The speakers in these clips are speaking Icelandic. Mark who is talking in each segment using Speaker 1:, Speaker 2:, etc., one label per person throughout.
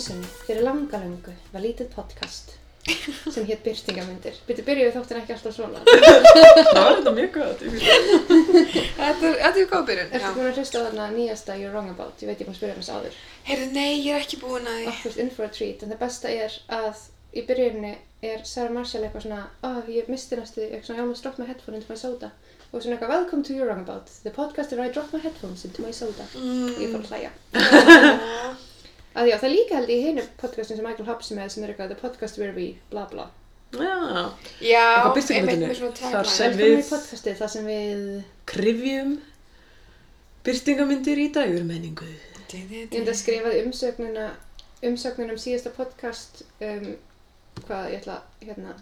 Speaker 1: sinni, fyrir langa langalöngu, var lítið podcast sem hétt Byrtingamyndir. Byrju, byrjuðu þáttin ekki alltaf svona.
Speaker 2: Það var þetta mjög gott. ég fíla það.
Speaker 3: Þetta er, þetta er góð byrjun.
Speaker 1: Ertu
Speaker 3: já.
Speaker 1: búin að hlusta á þarna nýjasta You're Wrong About? Ég veit ég búin að spyrja um þess aður.
Speaker 3: Heyrðu, nei, ég er ekki búin að því.
Speaker 1: Offers in for a treat. En það besta er að í byrjunni er Sarah Marshall eitthvað svona oh, ég misti næstu, því," eitthvað svona, ég almost dropped my headphone into my soda. Og svona eitthvað, welcome to You're Wrong About, the podcast where I drop my headphones into my soda.
Speaker 3: Mm.
Speaker 1: Ég fór að hlæja. Að já, það er líka held ég í hinum podcastin sem Michael Hobbs er með sem er eitthvað, the podcast where we bla bla.
Speaker 2: Já,
Speaker 3: Já,
Speaker 2: Eitthvað
Speaker 3: einmitt
Speaker 2: birtingabindinu.
Speaker 3: með svona
Speaker 2: Þar sem-
Speaker 3: tagline.
Speaker 1: Velkomin í
Speaker 2: við-
Speaker 1: podcastið þar sem við
Speaker 2: krifjum byrtingamyndir í dagurmenningu.
Speaker 1: Ég enda skrifaði umsögnuna, umsögnuna um síðasta podcast um, hvað ég ætla, hérna,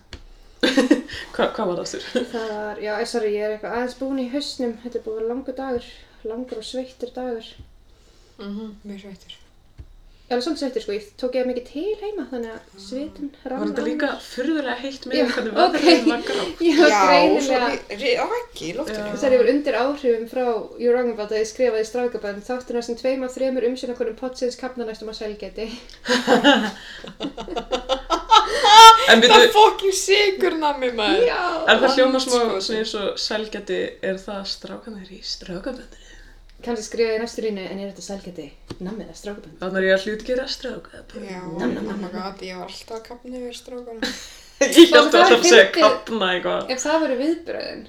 Speaker 2: Hva, hvað var það aftur?
Speaker 1: það var, já, eh, sorry, ég er eitthvað aðeins búin í hausnum, þetta er búin að vera langur dagur, langur og sveittur dagur.
Speaker 3: Mhm, Mér sveitur.
Speaker 1: Ég er alveg svolítið sveittur, sko, ég tók ég mikið til heima, þannig að sveitin rann
Speaker 2: Var þetta
Speaker 1: af
Speaker 2: líka
Speaker 1: mér.
Speaker 2: furðulega heitt
Speaker 1: Já,
Speaker 2: með hvernig
Speaker 1: ok.
Speaker 2: veðrið var grátt?
Speaker 1: Ég var greinilega,
Speaker 3: Já, ekki í loftinu.
Speaker 2: Já.
Speaker 1: þess að ég var undir áhrifum frá You're Wrong About að ég skrifaði í strákabæðin þáttur næstum tveim af þremur umsjónakonum pottsins kapna næstum á sælgæti.
Speaker 2: En
Speaker 3: Það
Speaker 2: byrju,
Speaker 3: fokkin sigur nammi maður.
Speaker 1: Já!
Speaker 2: er það hljóma smá
Speaker 3: Andskotinn.
Speaker 2: svona eins og sælgæti, er það strákanir í strákaböndinu?
Speaker 1: Kanski skrifaði ég næstu rínu, en er þetta sælgæti? Nammið það strákabæðin.
Speaker 2: Þannig er ég að hlutgera strákaböndinu.
Speaker 3: Já, oh
Speaker 1: Nam, nam, nam,
Speaker 3: my
Speaker 1: nam.
Speaker 3: god, ég var alltaf að kapna yfir strákana.
Speaker 2: Ég held
Speaker 1: Það
Speaker 2: að
Speaker 1: er
Speaker 2: það sé að
Speaker 1: fyndið.
Speaker 2: kapna eitthvað.
Speaker 1: Ef það voru viðbröðin,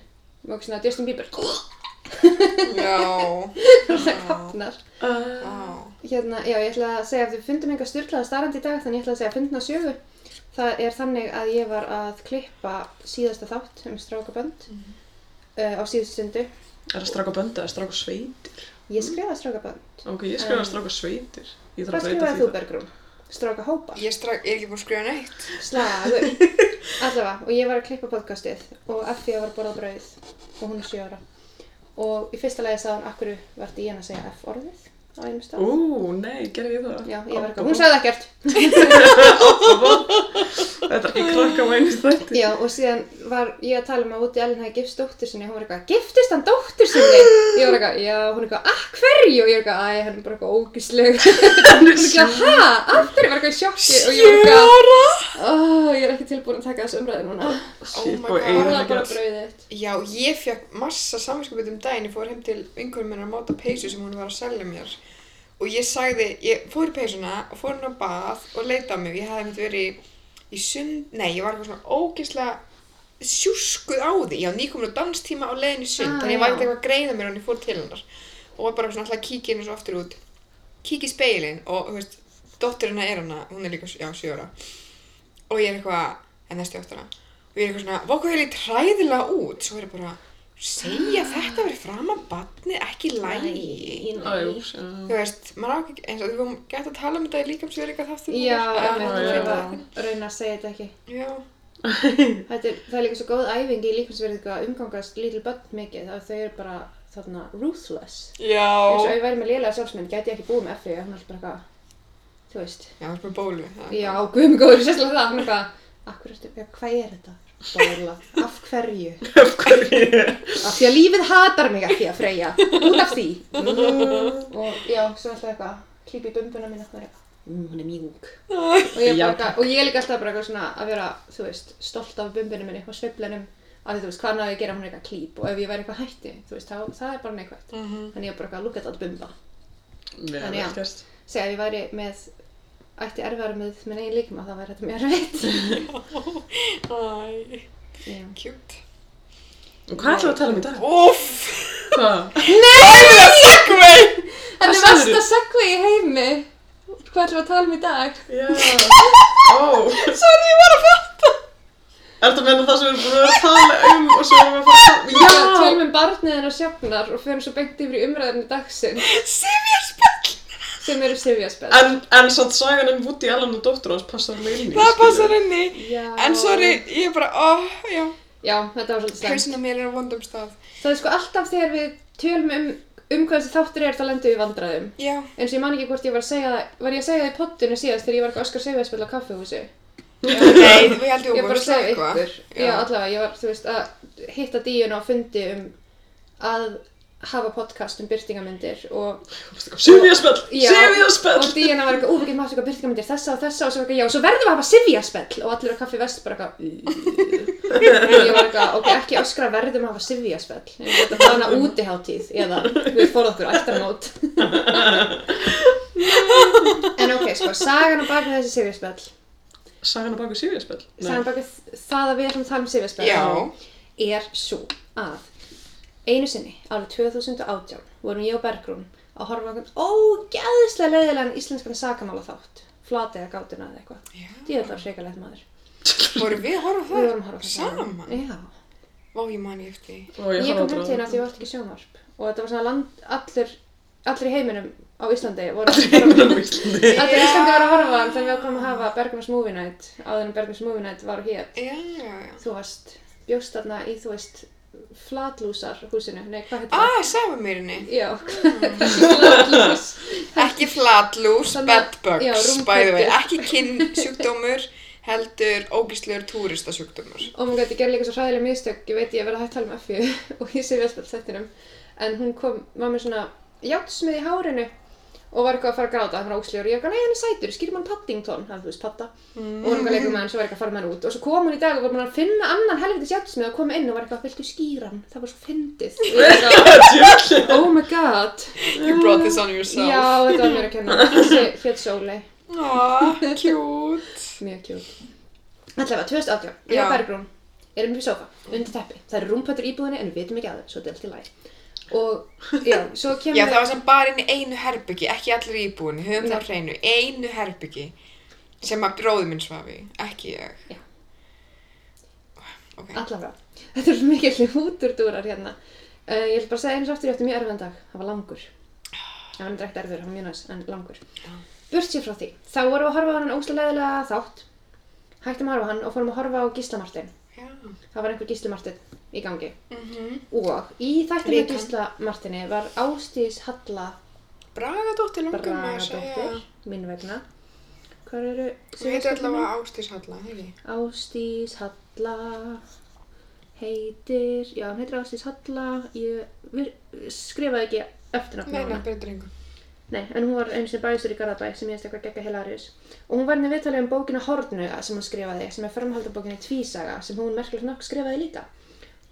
Speaker 1: og svona Justin Bieber,
Speaker 3: Já,
Speaker 1: það kapnar.
Speaker 2: Uh,
Speaker 3: já.
Speaker 1: Hérna, já, ég ætla að segja að við fundum einhver styrklaða starrandi í dag, þannig ég ætla að segja að fundna sögu. Það er þannig að ég var að klippa síðasta þátt um strákabönd
Speaker 2: Mhm.
Speaker 1: uh, á síðustu stundu.
Speaker 2: er það strákaböndu eða strákasveitir?
Speaker 1: Ég skrifaði strákabönd.
Speaker 2: Ok, ég skrifaði strákasveitir. Ég
Speaker 1: Hvað
Speaker 2: þarf Mhm. að breyta
Speaker 1: skrifaði
Speaker 2: því
Speaker 1: þú, Bergrún? Strákahópa?
Speaker 3: Ég strák, ég er ekki búin að skrifa neitt.
Speaker 1: Slagur. Allavega, og ég var að klippa podcastið og eftir ég var að borða brauð og hún er 7 ára. Og í fyrsta lagi sagði hann, akkur verði ég hann að segja F-orðið á einum stað?
Speaker 2: Ú, nei, gerði ég það?
Speaker 1: Já, ég var
Speaker 2: Ó,
Speaker 1: eitthvað, hún sagði ekkert.
Speaker 2: Þetta er ekki krakka vænist þetta.
Speaker 1: Já, og síðan var ég að tala um að Woody Allen hafi gifst dóttur sinni, hún var eitthvað, giftist hann dóttur sinni? Ég var eitthvað, já, hún er eitthvað, að hverju? Og ég var eitthvað, æ, hann er bara eitthvað ógisleg.
Speaker 2: Hann
Speaker 1: Hún er
Speaker 2: er
Speaker 1: eitthvað,
Speaker 2: sjö
Speaker 1: hæ, af hverju? Ég var eitthvað í sjokki og ég var eitthvað,
Speaker 2: ára.
Speaker 1: ó, ég er ekki tilbúin að taka þessu umræði núna.
Speaker 3: Oh
Speaker 2: Shit, og
Speaker 3: my God.
Speaker 2: eigin
Speaker 1: Borða
Speaker 2: ekki
Speaker 1: bara
Speaker 2: alls.
Speaker 1: brauðið þitt.
Speaker 3: Já, ég fekk massa samvinskupið um daginn, ég fór heim til vinkunum minna að máta peysu sem hún var að selja mér og ég sagði, ég fór í peysuna og fór hún á bað og leita á mig, ég hafði mitt verið í, í sund, nei, ég var eitthvað svona ógeðslega sjúskuð á því, já, nýkomin á danstíma á leiðin í sund,
Speaker 1: Ah,
Speaker 3: þannig ég var
Speaker 1: já.
Speaker 3: eitthvað að greiða mér og ég fór til hennar og var bara svona alltaf að kíkja inn og svo aftur út, kíkja í speilin og, þú veist, dótturina er hana, hún er líka, já, sjö ára og ég er eitthvað, en næstu áttuna og ég er eitthvað svona, vokku heil í træðilega út svo er ég bara, segja þetta verið fram að batni, ekki lægi
Speaker 1: Æ,
Speaker 2: Æ, jú,
Speaker 1: nei.
Speaker 2: sjá.
Speaker 3: þú veist, maður á ekki eins og við vorum gæti að tala um þetta í líkamsverika þáttum
Speaker 1: Já,
Speaker 3: en
Speaker 1: emmi,
Speaker 2: já.
Speaker 1: þú veit
Speaker 3: þetta
Speaker 1: að rauna að segja þetta ekki.
Speaker 3: já,
Speaker 1: Þetta er, það er líka svo góð æfing í lífnsverðingu að umgangast lítil börn mikið, að þau eru bara, þarna, ruthless. eins og ef
Speaker 3: já
Speaker 1: ég væri með lélega sjálfsmynd gæti ég ekki búið með FI hún er alltaf bara eitthvað þú veist
Speaker 3: já, það er með bólu það.
Speaker 1: já, guðum góður, sérstaklega það hún er eitthvað akkur ertu, já, hvað er þetta? Bóla, af hverju?
Speaker 2: Af hverju?
Speaker 1: af því að lífið hatar mig ekki að freyja út af því og já, svo alltaf eitthvað klíp í bumbuna mín og er eitthvað Mm, hún er mjúk og ég, er bara
Speaker 2: Já.
Speaker 1: eitthvað, og ég er líka alltaf bara eitthvað svona að vera þú veist, stolt af bumbunum minni og sveiflunum af því þú veist, hvað náðu ég að gera hún er eitthvað klíp og ef ég væri eitthvað hætti, þú veist, þá, það er bara neikvægt
Speaker 3: Mhm.
Speaker 1: þannig ég er bara eitthvað að lúka þetta að bumba En
Speaker 2: Nei, það
Speaker 1: já.
Speaker 2: er gert.
Speaker 1: segja að ég væri með ætti erfiðar með minn eigin líkma þá væri þetta mjög erfitt
Speaker 3: æ,
Speaker 1: Já.
Speaker 3: kjút
Speaker 2: Og hvað ætlum við að tala um í dag?
Speaker 3: uff,
Speaker 2: Hvað?
Speaker 3: segvei
Speaker 1: En
Speaker 2: Hvað
Speaker 1: það
Speaker 2: sagðirðu?
Speaker 1: varst að segja í heimi Hvað ætlum við að tala um í dag?
Speaker 2: Já. Ó.
Speaker 3: sorry, ég var að fatta
Speaker 2: Er þetta að menna það sem við erum búin að vera að tala um og svo erum við að fara að tala
Speaker 1: Já,
Speaker 2: um?
Speaker 1: tölum um barniðin og sjafnar og förum svo beint yfir í umræðinu dagsin
Speaker 3: sifjarspall,
Speaker 1: sem eru sifjaspell
Speaker 2: En, en samt sagan um Woody Allen og dóttur hans passar alveg inn í.
Speaker 3: það
Speaker 2: skilur.
Speaker 3: passar henni
Speaker 1: Já.
Speaker 3: en sorry, ég er bara, oh, já
Speaker 1: Já, þetta var svolítið slæmt
Speaker 3: hausinn á mér er á vondum stað
Speaker 1: Það er sko alltaf þegar við tölum um um hvað þessi þáttur er þá lendum við í vandræðum
Speaker 3: já,
Speaker 1: eins og ég man ekki hvort ég var að segja það var ég að segja það í pottinu síðast þegar ég var eitthvað að öskar sifjaspell á kaffehúsi
Speaker 3: nei, við heldum
Speaker 1: Ég var
Speaker 3: vorum
Speaker 1: bara að segja
Speaker 3: slökkva.
Speaker 1: ykkur, já,
Speaker 3: Já.
Speaker 1: allavega, ég var, þú veist, að hitta díun á fundi um að hafa podcast um byrtingamyndir og
Speaker 2: Sifjaspell,
Speaker 1: Já.
Speaker 2: sifjaspell
Speaker 1: og Díana var eitthvað, ú, við getum haft eitthvað byrtingamyndir þessa og þessa og svo var eitthvað, já, og svo verðum við að hafa sifjaspell og allir á kaffi vest bara eitthvað "Ú." og ég var eitthvað, ok, ekki öskra verðum að hafa sifjaspell en ég veit að hana útiháttíð eða við fórum okkur ættarmót en ok, sko, sagan á bakið þessi sifjaspell
Speaker 2: Sagan á baku sifjaspell
Speaker 1: sagan á bakið það að við erum að tala um sifjaspell
Speaker 3: Já.
Speaker 1: er svo að einu sinni árið 2018 vorum ég og Bergrún að horfa okkur ógeðslega leiðilegan íslenskan sakamála þátt flat eða gátuna eða eitthvað
Speaker 3: Já.
Speaker 1: djöðlar var hrikalegt maður
Speaker 3: Voru við að horfa á
Speaker 1: við vorum að horfa á
Speaker 3: það
Speaker 1: það
Speaker 3: saman?
Speaker 1: já. Eh.
Speaker 3: Vá, ég mani eftir því.
Speaker 2: Og
Speaker 1: ég,
Speaker 2: horfði
Speaker 1: kom
Speaker 2: aldrei
Speaker 1: heim til hérna
Speaker 2: á það.
Speaker 1: því ég vart ekki sjónvarp og þetta var svona land, allir, allir í heiminum á Íslandi voru
Speaker 2: Allir heiminum á um Íslandi
Speaker 1: allir í Íslandi var að horfa á hann þannig við komum að hafa Bergrúns Movie Night áður en Bergrúns Movie Night var hér
Speaker 3: Já, já, já.
Speaker 1: þú varst bjóst þarna í þú veist flatlúsar húsinu, nei hvað heitir
Speaker 3: Ah, safameerinni.
Speaker 1: Já, flatlús.
Speaker 3: Ekki flatlús,
Speaker 1: Þannig- Já,
Speaker 3: bedbugs,
Speaker 1: rúmkvöldin.
Speaker 3: by the way, ekki kynnsjúkdómur, heldur ógíslegur túristasjúkdómur.
Speaker 1: Og maður gæti gerði líka svo hræðileg mistök, ég veit ég að vera hægt að tala um Öfju og ég sé velspöld þettinum. En hún kom, var með svona játsmið í hárinu og var eitthvað að fara að gráta, hann var ógslegur. Ég var eitthvað, nei hann er sætur, skýr mann Paddington, hann þú veist, patta. Og hún var eitthvað að leika með hann, svo var eitthvað að fara með hann út. Og svo kom hann í dag og var búin að finna annan helvitis játsmið og kom inn og var eitthvað, viltu skýra hann? Það var svo fyndið. Og ég var eitthvað,
Speaker 2: Djöfull.
Speaker 1: Oh my god.
Speaker 3: You brought this on yourself.
Speaker 1: Já, þetta var mér að kenna. Þessi fjöld sóli.
Speaker 3: Aw, cute.
Speaker 1: Mjög kjút. Allavega, 2018, ég
Speaker 3: Já.
Speaker 1: og Bergrún erum upp í sofa, undir teppi. Það eru rúmpötur í íbúðinni en við vitum ekki að þeim, svo þetta er allt í lagi. Og já, svo kemur...
Speaker 3: Já, það var sem bara inn í einu herbyggi, ekki allir íbúin, höfum það á hreinu, einu herbyggi sem að bróði minn svaf í, ekki ég.
Speaker 1: Já.
Speaker 3: Ok.
Speaker 1: Allavega, þetta eru mikil úturdúrar hérna. Uh, ég ætla bara að segja eins og aftur, ég átti mjög erfiðan dag, það var langur. Það var reyndar ekkert erfiður, það var mjög næs, en langur. Burt sér frá því, þá vorum við að horfa á hann óslega leðilega þátt, hættum að horfa á hann og fórum að horfa á Gíslamartin.
Speaker 3: Já.
Speaker 1: Það var einhver Gíslamartin í gangi.
Speaker 3: Mm
Speaker 1: Og í þættinni
Speaker 3: Vikan.
Speaker 1: Gíslamartinni var Ástís Halla
Speaker 3: Bragadóttir langar mig að segja.
Speaker 1: Bragadóttir, mín vegna. Hvað eru
Speaker 3: Þú heitir allavega Ástís Halla, ekki?
Speaker 1: Ástís Halla heitir, já, hún heitir Ástís Halla. Ég vir, skrifaði ekki eftirnafn á
Speaker 3: Nei, nei,
Speaker 1: hana.
Speaker 3: breytir engum.
Speaker 1: Nei, en hún var einu sinni bæjastur í Garðabæ sem ég veist eitthvað gegga hilarius. Og hún var henni viðtalið um bókina Hornu sem hún skrifaði, sem er framhaldabókinni Tvísaga, sem hún merkilegt nokk skrifaði líka.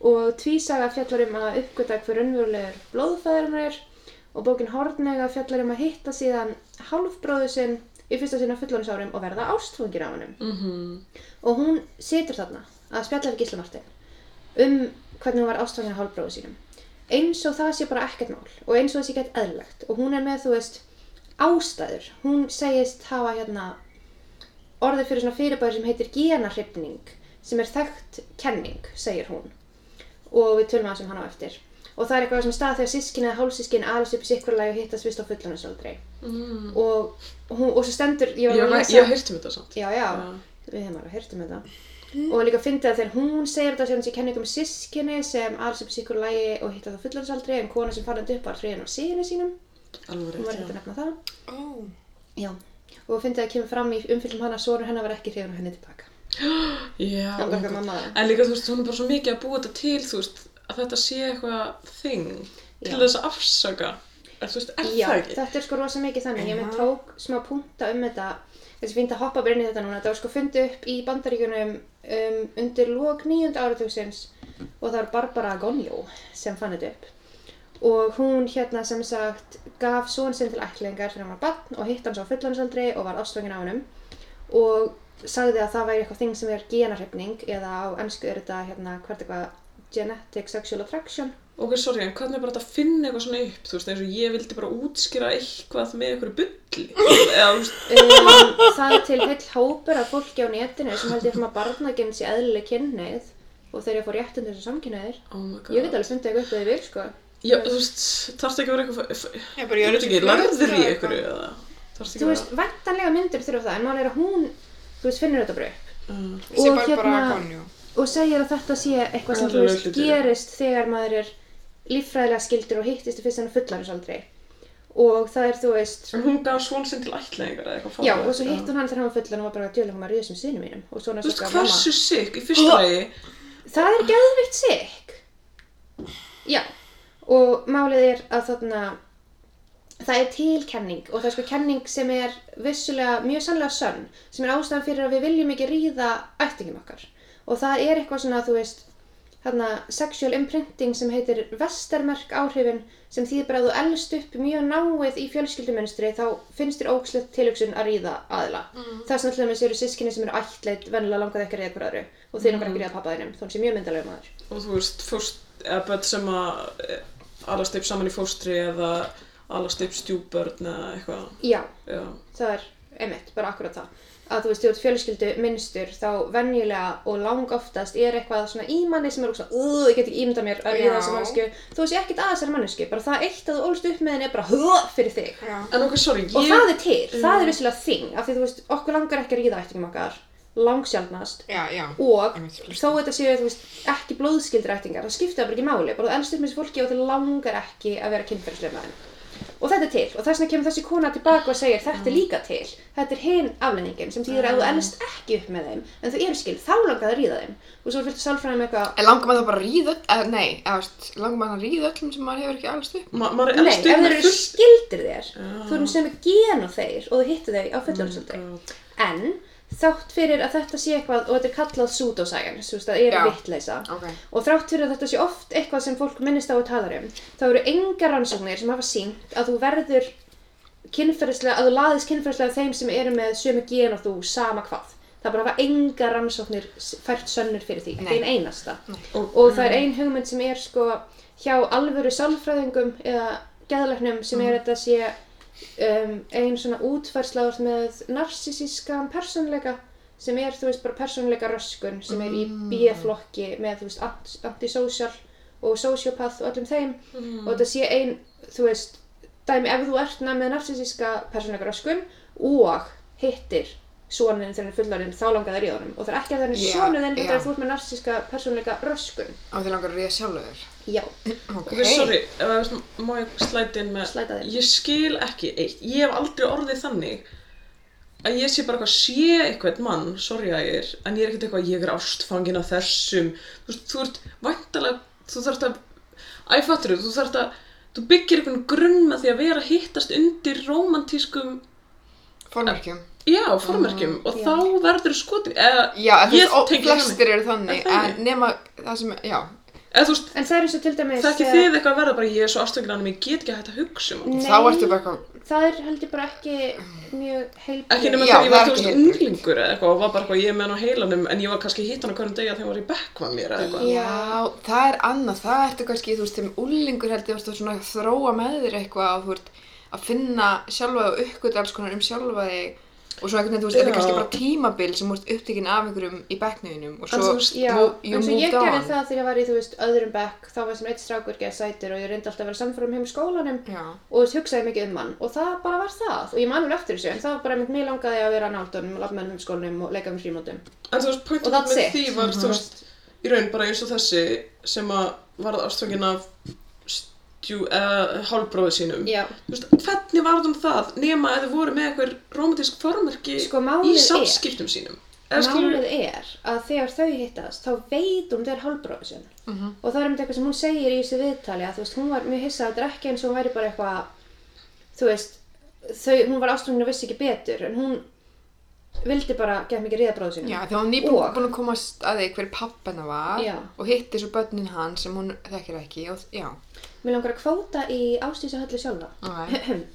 Speaker 1: Og Tvísaga fjallar um að uppgöta hver raunverulegur blóðfæður hann er og bókin Hornega fjallar um að hitta síðan hálfbróðu sinn í fyrsta sinna fullónisárum og verða ástfungin á hannum. Og hún situr þarna að spjalla við Gísla Martin um hvernig hún var ástfangin á hálfbróðu sínum eins og það sé bara ekkert mál og eins og það sé ekkert eðlilegt og hún er með, þú veist, ástæður hún segist hafa hérna orðið fyrir svona fyrirbæri sem heitir genarhrifning sem er þekkt kenning, segir hún og við tölum aðeins um hana á eftir og það er eitthvað sem stað þegar sískin eða hálsískin alast upp í sikkurlega og hittast vist á fullunasöldrei
Speaker 2: Mm.
Speaker 1: og, hún, og svo stendur ég var
Speaker 2: Ég
Speaker 1: að
Speaker 2: hef-
Speaker 1: lesa-
Speaker 2: ég hef heyrt um þetta samt
Speaker 1: Já, já, við hefum alveg heyrt um þetta. Og líka fyndið að þegar hún segir þetta sem þessi kenning um sískinni sem alls upp síkur lægi og hitta það fullorðsaldri en kona sem farandi upp var þriðin á síðinu sínum.
Speaker 2: Alveg
Speaker 1: Hún var ekkert
Speaker 2: rétt,
Speaker 1: að
Speaker 2: já
Speaker 1: nefna það.
Speaker 3: Ó,
Speaker 1: Já. Og fyndið að kemur fram í umfyllum hana að sonur hennar var ekki hrifin á henni tilbaka.
Speaker 2: Já,
Speaker 1: Það var
Speaker 2: oh my
Speaker 1: eitthvað
Speaker 2: god.
Speaker 1: mamma það.
Speaker 2: En líka, þú veist, hún er bara svo mikið að búa þetta til, þú veist, að þetta sé eitthvað þing til
Speaker 1: Já.
Speaker 2: þess að afsaka. Er, þú veist, er
Speaker 1: Já,
Speaker 2: það ekki?
Speaker 1: þetta er sko rosa mikið þannig. Ég með
Speaker 3: Já.
Speaker 1: tók smá punta um þetta. Þessi fínt að hoppa bara inn í þetta núna. Það var sko fundið upp í bandaríkunum um, undir lók nýjunda áratugsins og það var Barbara Gonjó sem fann þetta upp. Og hún hérna sem sagt gaf són sinn til ætlingar þegar hann var barn og hitt hans á fullhansaldri og var ástöngin á hannum og sagði að það væri eitthvað þing sem er genarhefning eða á ennsku er þetta hérna hvert eitthvað genetic sexual attraction
Speaker 2: Ok, sorry, en hvernig er bara þetta að finna eitthvað svona upp, þú veist, eins og ég vildi bara útskýra eitthvað með einhverju bulli. Eða, þú veist,
Speaker 1: um, það er til heill hópur af fólki á netinu sem heldur fram að barnaginn sé eðlileg kynneið og þeir eru að fá réttundur sem samkynneðir
Speaker 2: oh my god.
Speaker 1: ég get alveg fundið eitthvað upp að þið vil sko
Speaker 2: Já, þú veist, þarf ekki að vera eitthvað, f- f-
Speaker 3: ég bara,
Speaker 2: ég
Speaker 3: ég er
Speaker 2: veit ekki, lærður í einhverju eða, þarf ekki
Speaker 1: þú
Speaker 2: að
Speaker 1: veist,
Speaker 2: vera,
Speaker 1: væntanlega myndir þurfa það en mál er að hún, þú veist, finnur þetta bara upp
Speaker 2: uh,
Speaker 3: Ég sé
Speaker 1: Og
Speaker 3: bara bara
Speaker 1: hérna-
Speaker 3: konjú.
Speaker 1: og segir að þetta sé eitthvað sem
Speaker 2: Það
Speaker 1: þú
Speaker 2: eru
Speaker 1: veist,
Speaker 2: hlutir.
Speaker 1: gerist þegar maður er líffræðilega skildur og hittist í fyrst hann fullarinsaldri og það er, þú veist,
Speaker 2: en hún gaf svon sinn til ætlingar eða eitthvað
Speaker 1: já,
Speaker 2: fáránlegt,
Speaker 1: og svo
Speaker 2: eða?
Speaker 1: hitt hún hann þegar hann var fullan og var bara að djöla hún var ríðisum sinni mínum og svona
Speaker 2: Þú veist,
Speaker 1: sagði mamma.
Speaker 2: hversu sikk í fyrsta lagi,
Speaker 1: Það er geðvikt sikk. Já, og málið er að þarna það er tilkenning og það er sko kenning sem er vissulega mjög sannlega sönn sem er ástæðan fyrir að við viljum ekki ríða ættingum okkar og það er eitthvað svona þú veist þarna sexual imprinting sem heitir vestermerk áhrifin sem þýðir bara að þú elst upp mjög náið í fjölskyldumunstri þá finnst þér ógslætt tilhugsun að ríða aðila mm. það sem alltaf eru sískinni sem eru ættleitt venjulega langað ekki að ríða hver öðru og þeir langar ekki að ríða pappa þínum þó hann sé mjög myndalega maður
Speaker 2: og þú veist, fórst, eða börn sem að eh, alast upp saman í fóstri eða alast upp stjúbörn eða eitthvað,
Speaker 1: já,
Speaker 2: já,
Speaker 1: það er einmitt, bara akkurat það að þú veist, þú ert fjölskyldu minnstur þá venjulega og lang oftast er eitthvað svona í manni sem er úr svona "Ugh, ég get ekki ímynda mér að ríða
Speaker 3: Já.
Speaker 1: þessar mannsku þú veist, ég ekkert að þessar mannsku, bara það eitt að þú ólst upp með henni er bara "Ugh", fyrir þig
Speaker 3: Já.
Speaker 2: en okkur, sorry,
Speaker 1: og
Speaker 2: ég Mm.
Speaker 1: það er til, það er vissulega þing af því þú veist, okkur langar ekki að ríða ættingum okkar langsjálfnast
Speaker 3: Já, já.
Speaker 1: og
Speaker 3: Einmitt, flestum.
Speaker 1: þó þetta séu þú veist, ekki blóðskildir ættingar, það skiptir það bara ekki máli bara þú elst upp með þessu fólki og þau langar ekki að vera kynferðislega með þeim og þetta er til, og þess vegna kemur þessi kona tilbaka og segir þetta
Speaker 2: Mm.
Speaker 1: er líka til, þetta er hinn aflendingin sem þýðir að þú elst ekki upp með þeim en þú eru skil, þá langar það að ríða þeim og svo er fyllt sálfræðin með eitthvað
Speaker 3: En langar maður það bara að ríða, eða nei, eða veist, langar maður að ríða öllum sem maður hefur ekki alveg stuð?
Speaker 2: ma maður er
Speaker 1: Nei, ef
Speaker 2: elst upp
Speaker 1: þeir
Speaker 2: með
Speaker 1: eru
Speaker 2: fullt Ah.
Speaker 1: skildir þér,
Speaker 2: Já.
Speaker 1: þú erum sem er gen og þeir og þú hittu þeir á fulljónsöldi.
Speaker 2: God.
Speaker 1: en þátt fyrir að þetta sé eitthvað og þetta er kallað pseudoscience, þú veist það er
Speaker 3: Já.
Speaker 1: vittleysa
Speaker 3: Ok.
Speaker 1: og þrátt fyrir að þetta sé oft eitthvað sem fólk minnist á og talar um þá eru engar rannsóknir sem hafa sínt að þú verður kynferðislega, að þú laðist kynferðislega af þeim sem eru með sömu gen og þú sama hvað það bara hafa engar rannsóknir s- fært sönnur fyrir því,
Speaker 3: Nei.
Speaker 1: ekki ein einasta
Speaker 2: og,
Speaker 1: og það er ein hugmynd sem er sko hjá alvöru sálfræðingum eða geðlæknum sem er þetta sé um, ein svona útfærsláð með narsisískan persónleika sem er þú veist bara persónleika röskun sem er í
Speaker 3: Mm.
Speaker 1: B-flokki með þú veist ant- antisocial og sociopath og öllum þeim
Speaker 3: Mm.
Speaker 1: og þetta sé ein þú veist dæmi ef þú ert na- með narsisíska persónleika röskun og hittir sonin þegar hann er fullorinn þá langar þær í honum og það er ekki að það er
Speaker 3: Já,
Speaker 1: sonið en
Speaker 3: já.
Speaker 1: þetta er þú ert með narsíska persónleika röskun
Speaker 3: Á þið langar að ríða sjálfur þér?
Speaker 1: já,
Speaker 3: Ok.
Speaker 2: ok, sorry, ef að veist, má ég slæta inn með
Speaker 1: Slæta þér.
Speaker 2: ég skil ekki eitt, ég hef aldrei orðið þannig að ég sé bara eitthvað sé eitthvað mann, sorry að ég er en ég er ekkert eitthvað, ég er ástfangin af þessum þú veist, þú ert væntalega þú þarft að, æfattur þú þarft að, þú byggir einhvern grunn með því að vera að hittast undir rómantískum,
Speaker 3: Formerkjum.
Speaker 2: já, formerkjum og
Speaker 1: já.
Speaker 2: þá verður skotin, eða
Speaker 3: Já, en þú
Speaker 2: ég
Speaker 3: veist, ó-
Speaker 2: tengi þannig,
Speaker 3: flestir eru þannig,
Speaker 2: Er það
Speaker 3: en nema það sem, já.
Speaker 2: eða þú veist
Speaker 1: en það er eins og til dæmis
Speaker 2: það er ekki
Speaker 1: þegar-
Speaker 2: þið eitthvað að verða bara, ég er svo ástfangin af hann ég get ekki að hætta að hugsa um hann
Speaker 1: Nei,
Speaker 3: Þá ertu bara eitthvað,
Speaker 1: það er heldur bara ekki mjög heilbrið
Speaker 2: ekki nema
Speaker 3: Já,
Speaker 2: þegar ég var
Speaker 3: það er
Speaker 2: þú veist
Speaker 3: ekki heilbrigt.
Speaker 2: unglingur eða eitthvað og var bara eitthvað ég með hann á heilanum en ég var kannski hitt hann á hverjum degi að þeim var í bekkvan mér eða eitthvað
Speaker 3: já, það er annað, það ertu kannski, þú veist, þeim úlingur held ég varst að svona þróa með þér eitthvað og þú ert að finna sjálfa og uppgöta alls konar um sjálfa þig og svo einhvern veginn, þú veist, þetta er
Speaker 2: Já.
Speaker 3: kannski bara tímabil sem þú ert upptekinn af einhverjum í bekkniðinum og
Speaker 2: En
Speaker 3: svo
Speaker 2: þú veist,
Speaker 1: Já,
Speaker 3: you- you
Speaker 1: eins og ég
Speaker 3: moved
Speaker 1: gerði
Speaker 3: on.
Speaker 1: það þegar ég var í, þú veist, öðrum bekk, þá var sem eitt strákur geða sætur og ég reyndi alltaf að vera samfórum heim í skólanum
Speaker 3: Já.
Speaker 1: og þú veist, hugsaði mikið um hann og það bara var það og ég manur eftir þessu en það var bara einmitt mér langaði að vera náttúrunum og lafa með hann um skólanum og leika með frímótum
Speaker 2: en þú veist,
Speaker 1: Og
Speaker 2: pointum
Speaker 1: that's
Speaker 2: með
Speaker 1: it. Mhm.
Speaker 2: því var þú veist, í raun bara eins og þessi sem að varð ástfangin af stjú, eða hálfbróðu sínum
Speaker 1: Já,
Speaker 2: þú veist, hvernig varð um það nema að þið voru með eitthvað romantísk formerki
Speaker 1: Sko,
Speaker 2: í
Speaker 1: málið er-
Speaker 2: samskiptum sínum eða skilur
Speaker 1: Málið er að þegar þau hittast þá veit hún þau er hálfbróður sinn
Speaker 3: Mhm.
Speaker 1: og það er einmitt eitthvað sem hún segir í þessu viðtali að þú veist, hún var mjög hissað að þetta er ekki eins og hún væri bara eitthvað þú veist, þau, hún var ástofnir og vissi ekki betur en hún vildi bara geta mikið ríða bróður sinu
Speaker 3: Já, þegar hún nýbúin
Speaker 1: Og-
Speaker 3: búin að komast að því hver pappana var
Speaker 1: Já.
Speaker 3: og hitti svo börnin hann sem hún þekkir ekki og já,
Speaker 1: Mér langar að kvóta í ástísa höllu sjálfa
Speaker 3: Ok.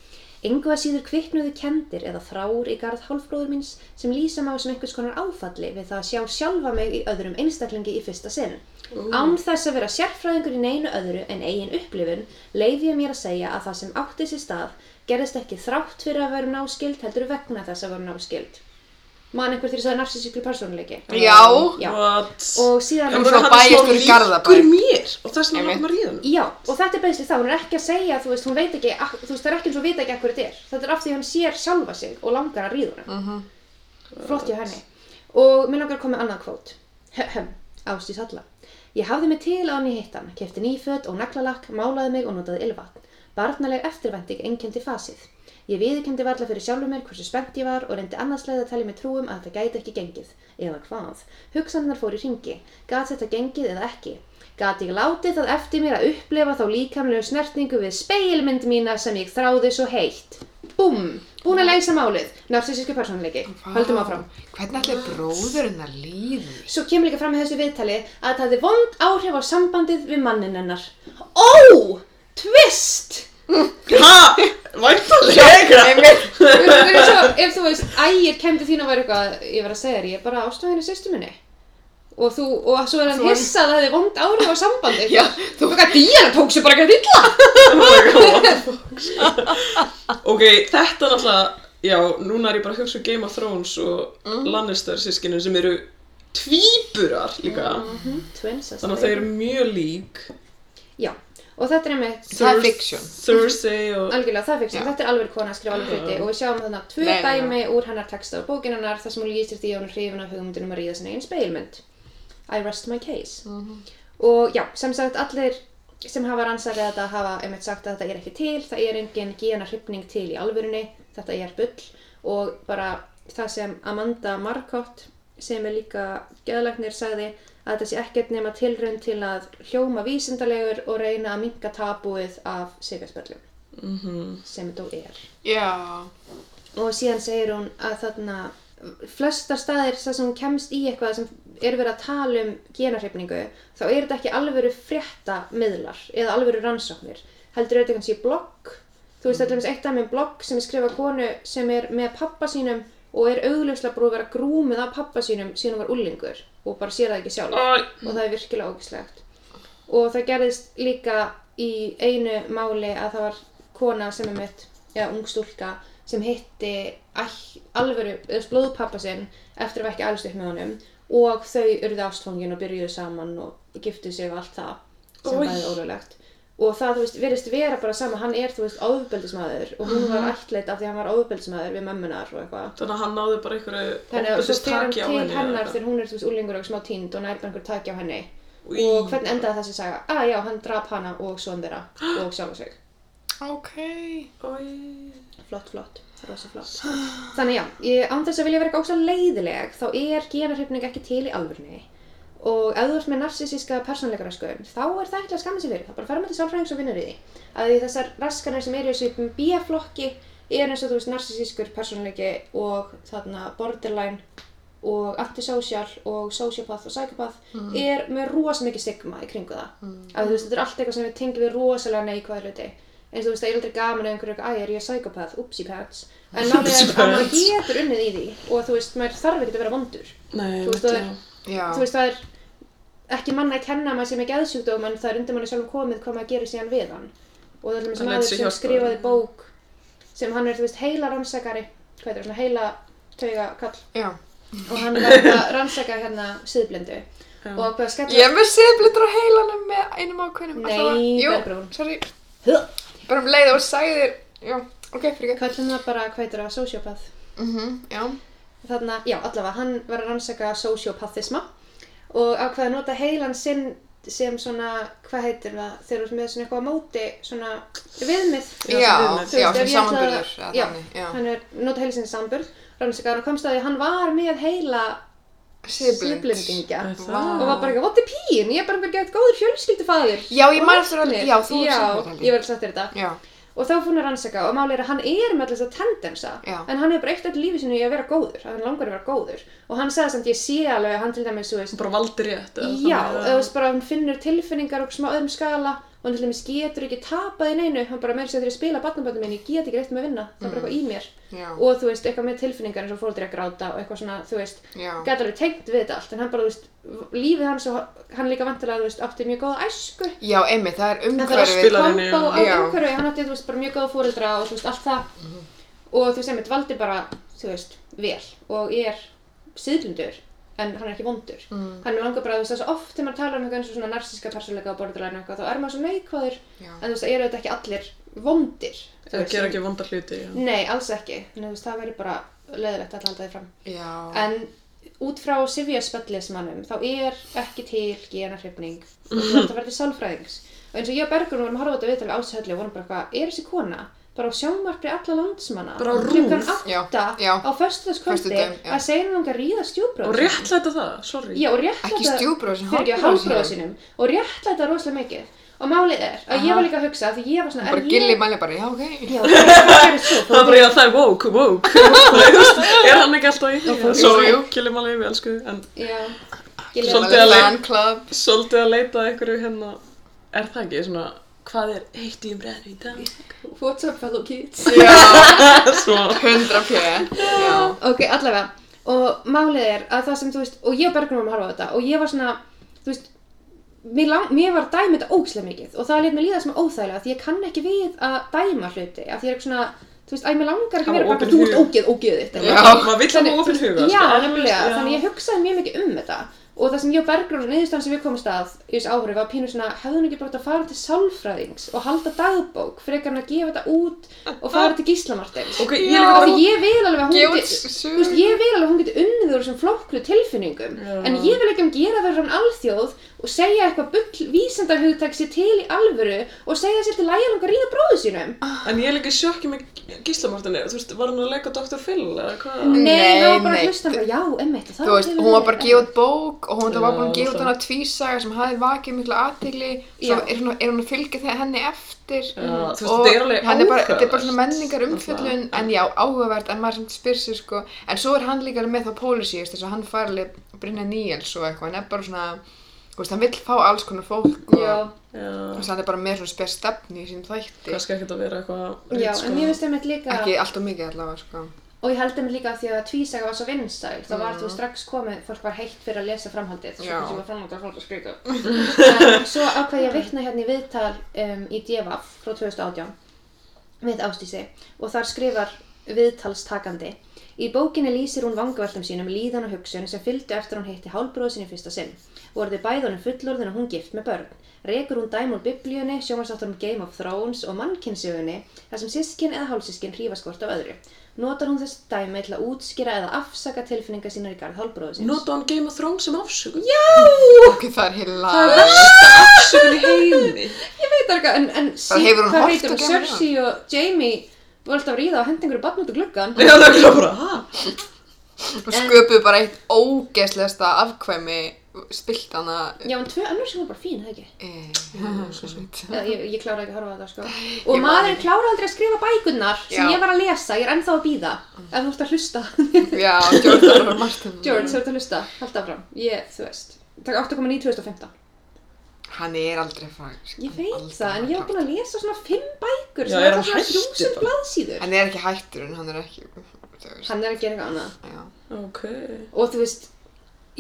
Speaker 1: Engu að síður kviknuðu kendir eða þrár í garð hálfbróður míns sem lýsa má sem einhvers konar áfalli við það að sjá sjálfa mig í öðrum einstaklingi í fyrsta sinn. Án þess að vera sérfræðingur í neinu öðru en eigin upplifun leiði ég mér að segja að það sem átti sér stað gerðist ekki þrátt fyrir að vera náskild heldur vegna þess að vera náskild. Man einhver þegar það er narsisíklu persónuleiki.
Speaker 3: já,
Speaker 1: Já.
Speaker 2: what
Speaker 1: Og síðan...
Speaker 3: En svo bæjarstjóri í Garðabæ.
Speaker 2: líkur mér og þess vegna
Speaker 3: Einmitt.
Speaker 2: langar maður í hann
Speaker 1: Já, og þetta er beinsli það, hún er ekki að segja, þú veist, hún veit ekki, ak- þú veist, það er ekki eins og vita ekki hvað þetta er. Þetta er af því að hann sér sjálfa sig og langar að ríða hana. Uh -huh. Flott hjá henni. Og mér langar að koma með annað kvót. Höhem, ástís alla. Ég hafði mig til á hann í hittan, kefti nýföt og naglalakk, málaði mig og notaði ylvatn. Barnaleg eftirvænting einkendi fasið. Ég viðkendi varla fyrir sjálfur mér hversu spennt ég var og reyndi annarslega að telja mig trúum að þetta gæti ekki gengið. Eða hvað? Hugsanirnar fóru í ringi. Gat þetta gengið eða ekki? Gat ég látið það eftir mér að upplefa þá líkamlegu snertningu við speilmynd mína sem ég þráði svo heitt? Búm! Búin að leysa málið. Narsisísku persónleiki. Höldum áfram.
Speaker 3: Hvernig ætlaði bróðurinn að líði?
Speaker 1: Svo kemur líka fram í þessu viðtali að það hafði vond áhrif á sambandið við mannin hennar. Ó! Twist!
Speaker 2: Ha! Væntalega!
Speaker 1: Þú veist, það er svo, ef þú veist, ægir kemdi þín og væri eitthvað, ég var að segja þér, ég er bara ástofinu sýstu minni. Og þú, og svo er hann
Speaker 3: Svo er-
Speaker 1: hissað að það hefði vond áhrif á sambandið.
Speaker 3: Já,
Speaker 1: þú veist, Díana tók sér bara ekki að illa.
Speaker 2: Ok, þetta náttúrulega, já, núna er ég bara að hugsa um Game of Thrones og
Speaker 1: Mm.
Speaker 2: Lannister sískinin sem eru tvíburar líka.
Speaker 1: Mm. Mhm, Twinsast.
Speaker 2: Þannig að þau eru mjög lík.
Speaker 1: Já, og þetta er einmitt,
Speaker 3: Það er
Speaker 2: Thurs-
Speaker 3: fiction.
Speaker 2: Thursday og...
Speaker 1: algjörlega, það finnst,
Speaker 3: Já. Mm.
Speaker 1: þetta er alveg kona að skrifa alveg hluti og við sjáum þarna tvö
Speaker 3: Nei, nei, nei.
Speaker 1: dæmi úr hennar texta og bókin hennar þar sem hún lýsir því að hún er hrifin af hugmyndunum að ríða sinna einn speilmynd. I rest my case. Og já, sem sagt, allir sem hafa rannsakað þetta hafa einmitt sagt að þetta er ekki til, það er engin gena hrifning til í alvörunni, þetta er bull og bara það sem Amanda Marcott, sem er líka geðlagnir, sagði að þetta sé ekkert nema tilraun til að hljóma vísindalegur og reyna að minka tabúið af sigarspöllum sem þetta er.
Speaker 3: Já.
Speaker 1: Og síðan segir hún að þarna flestar staðir þar sem hún kemst í eitthvað sem er verið að tala um genarhrifningu, þá er þetta ekki alvöru frétta miðlar eða alvöru rannsóknir. Heldur er þetta kannski blogg, þú veist þetta er eitt af mér blogg sem er skrifað konu sem er með pappa sínum og er augljóslega búið að vera grúmið af pappa sínum síðan hún var ullingur og bara sér það ekki sjálf
Speaker 2: Æ,
Speaker 1: og það er virkilega ógislegt og það gerðist líka í einu máli að það var kona sem er mitt, eða ung stúlka sem hitti all, alvöru, eða blóðpappa sinn eftir að vera ekki alveg upp með honum og þau urðu ástfóngin og byrjuðu saman og giftu sig og allt það sem
Speaker 2: Oj.
Speaker 1: bæði ólöglegt og það, þú veist, verðist vera bara sama hann er, þú veist, ofbeldismæður og hún var ættleitt af því að hann var ofbeldismæður við mömmunar og eitthvað
Speaker 2: Þannig að hann náði bara einhverju
Speaker 1: þannig að svo fer hann
Speaker 2: ofbeldistaki
Speaker 1: til
Speaker 2: á henni eða
Speaker 1: hennar
Speaker 2: eitthvað.
Speaker 1: þegar hún er þú veist úlingur og smá tínd og nær bara einhver taki á henni
Speaker 2: Í.
Speaker 1: og hvernig endaði þessi saga? Ah já, hann drap hana og son þeirra og sjálfa sig
Speaker 3: Ok.
Speaker 2: Oj.
Speaker 1: flott, flott, rosa flott þannig já, ég, án þess að vilja vera eitthvað óslega leiðileg þá er genarhyfning ekki til í alvörni og ef þú ert með narsisíska persónleikaröskun þá er það ekki að skamma sér fyrir þá bara fer maður til sálfræðings og vinnur í því að því þessar raskanir sem eru í þessu bíaflokki er eins og þú veist narsisískur persónleiki og þarna borderline og antisocial og sociopath og psychopath er með rosa mikið stigma í kringu það að þú veist, þetta er allt eitthvað sem við tengjum við rosalega neikvæða hluti eins og þú veist, það er aldrei gaman að einhverju eitthvað, æ, er ég psychopath, oopsie pants en málið
Speaker 2: Oopsie
Speaker 1: er að maður
Speaker 2: pants.
Speaker 1: getur unnið í því og þú veist, maður þarf ekki að vera vondur
Speaker 2: Nei,
Speaker 1: Þú veist,
Speaker 2: mitt,
Speaker 1: það er-
Speaker 2: já.
Speaker 3: Já.
Speaker 1: þú veist, það er ekki manna að kenna að maður sem er geðsjúkdóm en það er undir manni sjálfum komið hvað maður gerir síðan við hann og það er alveg sem
Speaker 2: Hann lætur
Speaker 1: maður
Speaker 2: sér
Speaker 1: sem
Speaker 2: hjálpa.
Speaker 1: skrifaði bók sem hann er, þú veist, heila rannsakari hvað er það, svona heila tauga kall
Speaker 3: Já.
Speaker 1: og hann er að rannsaka hérna síðblindu
Speaker 2: Já.
Speaker 1: og hvað skella
Speaker 3: Ég er með siðblindur á heilanum með einum ákveðnum.
Speaker 1: Nei,
Speaker 3: allavega. Jú,
Speaker 1: Bergrún.
Speaker 3: sorry.
Speaker 1: Huh.
Speaker 3: Bara um leið og sagði þér. Já, ok, fyrir ekki.
Speaker 1: kallum það bara hvað er það, sociopath
Speaker 3: Mhm, já.
Speaker 1: þarna, já, allavega, hann var að rannsaka sociopathisma og ákvaði að nota heilan sinn sem svona, hvað heitir það, þeir eru með svona eitthvað á móti, svona viðmið.
Speaker 3: Já,
Speaker 2: Já,
Speaker 1: Þú
Speaker 3: já,
Speaker 1: veist,
Speaker 3: sem
Speaker 1: ef ég ætla-
Speaker 3: samanburður. eða
Speaker 1: Já,
Speaker 3: þannig, Já,
Speaker 1: hann er nota heilin sinni samburð, rannsakaði og komst að því að hann var með heila
Speaker 3: Siðblind.
Speaker 1: síðblendingja
Speaker 2: Er
Speaker 1: og
Speaker 2: það?
Speaker 1: var bara ekki, what the pín, ég er bara ekki eitthvað góður fjölskyldufaðir.
Speaker 3: Já, ég man eftir að, já, þú
Speaker 1: Já,
Speaker 3: sagðir þetta
Speaker 1: ég
Speaker 3: líka.
Speaker 1: var satt þér þetta.
Speaker 3: Já,
Speaker 1: Og þá fór hann að rannsaka og máli er að hann er með alltaf tendensa
Speaker 3: Já.
Speaker 1: en hann hefur bara eitt öll lífi sinni í að vera góður að hann langar að vera góður og hann sagði samt ég sé alveg að hann til dæmis, þú veist,
Speaker 2: Bara valdi rétt eða
Speaker 1: já,
Speaker 2: þannig
Speaker 1: eða þú veist bara hann finnur tilfinningar og smá öðrum skala og hann til dæmis getur ekki tapað í neinu hann bara meira sér þegar ég spila barnaböndum minn, ég get ekki reitt með að vinna það er bara eitthvað í mér
Speaker 3: já,
Speaker 1: og þú veist, eitthvað með tilfinningar eins og fóldri að gráta og eitthvað svona, þú veist,
Speaker 3: já.
Speaker 1: gæti alveg tengt við þetta allt en hann bara, þú veist, lífið hans og hann líka vantilega, þú veist, átti mjög góða æsku
Speaker 3: Já, einmitt, það er
Speaker 1: En það er
Speaker 3: umhverfið.
Speaker 2: spilar-
Speaker 1: kombo
Speaker 2: Spilarinn,
Speaker 1: á
Speaker 3: já.
Speaker 1: umhverfi, hann átti, þú veist, bara mjög góða fóreldra og þú veist, allt það
Speaker 2: Mhm.
Speaker 1: og þú veist, einmitt, valdi bara, þú veist, vel og er síðlundur en hann er ekki vondur
Speaker 2: Mhm.
Speaker 3: Mm.
Speaker 1: hann langar bara, þú veist, þessu oft þegar maður tala um eitthvað eins og svona narsíska persónleika og borðurlega eitthvað, þá er maður svo neikvæður
Speaker 3: Já.
Speaker 1: en þú veist, það eru þetta ekki allir vondir þú
Speaker 2: Það
Speaker 1: veist,
Speaker 2: gera
Speaker 1: sem-
Speaker 2: ekki vonda hluti, já.
Speaker 1: Nei, alls ekki, en þú veist, það verður bara leiðilegt að halda þið fram
Speaker 3: Já.
Speaker 1: en út frá sifjarspellismannum um, þá er ekki til genarhrifning
Speaker 3: Mhm.
Speaker 1: og þú ert að vera til sálfræðings og eins og ég og Bergrún vorum að horfa á þetta viðtalið ásöllu og vorum bara eitthvað, er þessi kona bara á sjónvarpi alla landsmanna
Speaker 2: Bara á
Speaker 1: klukkan
Speaker 2: RÚV.
Speaker 1: átta
Speaker 3: Já, já.
Speaker 1: á föstudagskvöldi
Speaker 3: Föstudaginn, já.
Speaker 1: að segja hann langar að ríða stjúbróður
Speaker 2: Og réttlæta það, sorry.
Speaker 1: já, og réttlæta
Speaker 3: Ekki stjúbróður sem
Speaker 1: fyrir ekki hálfbróður sínum og réttlæta rosalega mikið og málið er að ég
Speaker 3: Aha.
Speaker 1: var líka að hugsa því ég var svona
Speaker 3: Bara
Speaker 1: er
Speaker 3: gilli
Speaker 1: ég...
Speaker 3: mæli bara, já ok.
Speaker 1: Já, hvað hvað gerist svo?
Speaker 2: Það er
Speaker 1: Fór-
Speaker 2: bara, já, það er woke, woke. Þú veist, er hann ekki alltaf í því?
Speaker 1: fór-
Speaker 2: Sorry,
Speaker 3: Jú, jú.
Speaker 2: killum alveg, við elsku, en
Speaker 1: Já,
Speaker 3: Gilli
Speaker 1: gilli
Speaker 2: Svolítið
Speaker 3: mæli,
Speaker 2: alveg.
Speaker 3: fan club.
Speaker 2: svolítið að leita að einhverju hérna, er það ekki svona, hvað er heitt í umræðinu í dag?
Speaker 1: What's up fellow kids?
Speaker 3: Já,
Speaker 2: Svona,
Speaker 3: 100 p. Já.
Speaker 1: Ok, allavega. Og málið er að það sem, þú veist, og ég og Bergrún varum að horfa á þetta og ég var svona, þú veist, mér, lang, mér var dæmið þetta ógislega mikið og það létt mér líða sem óþægilega því ég kann ekki við að dæma hluti af því ég er eitthvað svona, þú veist, æ, mér langar ekki
Speaker 2: Hafa
Speaker 1: að vera bara
Speaker 2: opinn
Speaker 1: eitthvað, þú ert
Speaker 2: hug.
Speaker 1: ógeð, ógeð þitt.
Speaker 3: Já.
Speaker 2: maður vill hafa
Speaker 1: Þannig-
Speaker 2: ofinn huga,
Speaker 1: Já,
Speaker 2: sko.
Speaker 1: nefnilega,
Speaker 2: Já.
Speaker 1: þannig ég hugsaði mjög mikið um þetta og það sem ég og Bergrún og niðurstaðan sem við komumst að í þessu áhrifu var pínu svona, hefðu hún ekki bara átt að fara til sálfræðings og halda dagbók frekar en að gefa þetta út og fara til gíslamartins
Speaker 2: Ah. Ok, ég er líka
Speaker 1: Af
Speaker 2: bara,
Speaker 1: því ég vil alveg að hún
Speaker 3: Gefa út
Speaker 1: geti-
Speaker 3: sögur.
Speaker 1: þú veist, ég vil alveg að hún geti unnið úr þessum flokklu tilfinningum
Speaker 2: Já.
Speaker 1: en ég vil ekki að hún gera verður hann alþjóð og segja eitthvað bull vísindarhugtæk sér til í alvöru og segja sér til lægja langar að ríða bróðu sínum
Speaker 3: Ah,
Speaker 2: en ég er líka í sjokki með gíslamartinni, þú veist, var hann að leika Dr. Phil, eða hvað?
Speaker 1: Nei,
Speaker 3: Nei,
Speaker 1: það var bara
Speaker 3: nei.
Speaker 1: að hlusta hann bara, já, emmitt
Speaker 3: Þú veist, hún var bara að gefa út bók og hún
Speaker 2: Já,
Speaker 3: var búin að gefa út
Speaker 2: það.
Speaker 3: hana tvísaga sem hafði vakið mikla aðtegli
Speaker 1: Já.
Speaker 3: svo er hún, að- er hún að fylgja þegar henni eftir
Speaker 2: Já, þú veist,
Speaker 3: og
Speaker 2: þetta er alveg
Speaker 3: hann er bara, þetta er bara svona
Speaker 2: áhugavert,
Speaker 3: menningar umfjöllun en já, áhugavert, en maður sem spyr sér sko en svo er hann líka alveg með þá pólisí þess að hann fær alveg Brynja Níels og eitthvað hann er bara svona, þú veist, hann vill fá alls konar fólk og
Speaker 1: Já,
Speaker 2: Já,
Speaker 3: þess að hann er bara með svona spyr stefni í sín þætti
Speaker 2: kannski ekkert að vera eitthvað
Speaker 1: já,
Speaker 2: sko.
Speaker 1: en ég
Speaker 2: ritskoðað.
Speaker 1: veist emmitt líka
Speaker 3: sko ekki allt og mikið allavega sko
Speaker 1: og ég held emmitt líka að því að tvísaga var svo vinsæl þá var þú strax komið, fólk var heitt fyrir að lesa framhaldið svo
Speaker 3: Já.
Speaker 1: sem var framhaldið að fólk að skrika en svo ákveð ég að vitna hérna í viðtal um, í Devaf frá 2018 við Ástísi og þar skrifar viðtalstakandi Í bókinni lýsir hún vangaveltum sínum, líðan og hugsun sem fylgdu eftir hún hitti hálbróðu sinni í fyrsta sinn. Voru þið bæði honum fullorðin og hún gift með börn. Rekur hún dæmi úr biblíunni, sjómasáttur um Game of Thrones og mannkynsögunni, þar sem sískin eða hálsískin hrífast hvort af öðru. Notar hún þess dæmi til að útskýra eða afsaka tilfinninga sínar í garð hálbróðu síns.
Speaker 2: Nota hann Game of Thrones sem afsökun?
Speaker 3: ok, það er heila
Speaker 2: Það er versta afsökun í heimi.
Speaker 1: Ég veit það eitthvað, en, en sí,
Speaker 3: hefur hún
Speaker 1: hvað
Speaker 3: horft
Speaker 1: heitir
Speaker 3: á
Speaker 1: hún?
Speaker 3: Game of
Speaker 1: Cersei og Jaime voru alltaf að ríða og henda einhverju barn út úr gluggan.
Speaker 2: Já, það er ekki bara, ha?
Speaker 3: og sköpuðu bara eitt ógeðslegasta afkvæmi spilt hana
Speaker 1: Já, en tvö önnur sem voru bara fín, eða ekki?
Speaker 3: Eh,
Speaker 1: Eða, ég, ég klára ekki að horfa á þetta sko og
Speaker 3: Ég man
Speaker 1: maðurinn
Speaker 3: ekki.
Speaker 1: klára aldrei að skrifa bækurnar sem
Speaker 3: Já.
Speaker 1: ég var að lesa, ég er ennþá að býða
Speaker 2: Ah.
Speaker 1: ef þú ert að hlusta
Speaker 3: Já, Jordan og Martin
Speaker 1: George, þú ert að hlusta, hald áfram ég, þú veist, takk 8.9 2015
Speaker 3: Hann er aldrei fræg
Speaker 1: ég veit það, en ég var búin að lesa svona 5 bækur
Speaker 2: Já,
Speaker 1: sem
Speaker 2: er
Speaker 1: er
Speaker 2: hann
Speaker 1: svona 3000
Speaker 2: hættur bara?
Speaker 1: blaðsíður
Speaker 3: Hann er ekki hættur en hann er ekki þú veist,
Speaker 1: hann er að gera eitthvað annað
Speaker 3: já.
Speaker 2: Ok.
Speaker 1: og þú veist,